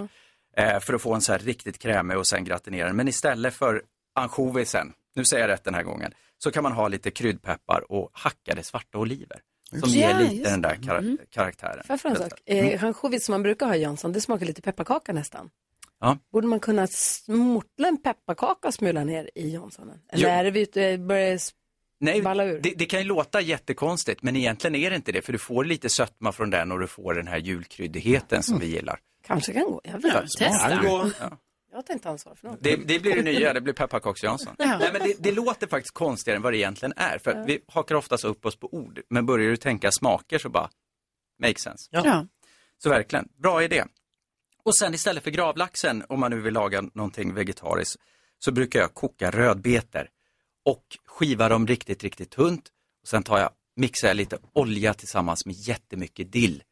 Speaker 17: Eh, för att få en så här riktigt krämig och sen gratinera den. Men istället för ansjovisen, nu säger jag rätt den här gången, så kan man ha lite kryddpeppar och hackade svarta oliver. Som
Speaker 1: Just
Speaker 17: ger
Speaker 1: det. Mm.
Speaker 17: lite
Speaker 1: Ja,
Speaker 17: den där kar- karaktären.
Speaker 1: Får jag fråga en sak?
Speaker 17: Mm.
Speaker 1: Eh, Ansjovis som man brukar ha i Jansson, det smakar lite pepparkaka nästan.
Speaker 17: Ja.
Speaker 1: Borde man kunna smortla en pepparkaka och smula ner i Janssonen? Eller
Speaker 17: Jo.
Speaker 1: är det vi ute, eh, börjar det
Speaker 17: Nej,
Speaker 1: balla ur?
Speaker 17: det, det kan ju låta jättekonstigt, men egentligen är det inte det, för du får lite sötma från den och du får den här julkryddigheten som vi gillar.
Speaker 1: Kanske kan gå, jag vet
Speaker 17: Ja,
Speaker 1: inte.
Speaker 17: testa. Kan gå. Ja.
Speaker 1: Jag tar inte ansvar för något.
Speaker 17: Det, det blir det nya, det blir pepparkaks-Jansson.
Speaker 1: Ja.
Speaker 17: Nej, men det, det låter faktiskt konstigare än vad det egentligen är, för
Speaker 1: Ja.
Speaker 17: vi hakar oftast upp oss på ord, men börjar du tänka smaker så bara, make sense.
Speaker 1: Ja.
Speaker 17: Så verkligen, bra idé. Och sen istället för gravlaxen, om man nu vill laga någonting vegetariskt, så brukar jag koka rödbetor och skiva dem riktigt, riktigt tunt. Och sen tar jag, mixar jag lite olja tillsammans med jättemycket dill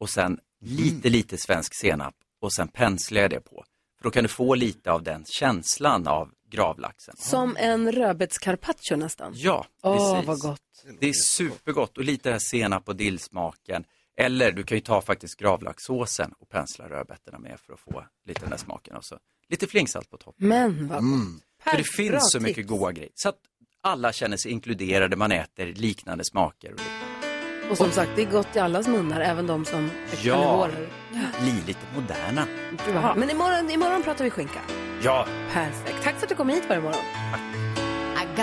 Speaker 17: och sen lite, lite svensk senap och sen penslar jag det på. För då kan du få lite av den känslan av gravlaxen.
Speaker 1: Som en rödbetscarpaccio nästan.
Speaker 17: Ja, precis.
Speaker 1: Åh, vad gott.
Speaker 17: Det är supergott och lite det här senap och dillsmaken. Eller du kan ju ta faktiskt gravlaxsåsen och pensla rödbetorna med för att få lite den där smaken. Och så lite flingsalt på toppen.
Speaker 1: Men vad gott.
Speaker 17: För det
Speaker 1: Mm. Bra
Speaker 17: finns så mycket
Speaker 1: tips.
Speaker 17: goda grejer. Så att alla känner sig inkluderade, man äter liknande smaker. Och
Speaker 1: Och som sagt, det är gott i allas munnar, även de som är
Speaker 17: Ja.
Speaker 1: karnivorer.
Speaker 17: bli lite moderna.
Speaker 1: Gud, vad- Men imorgon, imorgon pratar vi skinka.
Speaker 17: Ja,
Speaker 1: Perfekt. Tack för att du kom hit varje morgon.
Speaker 26: I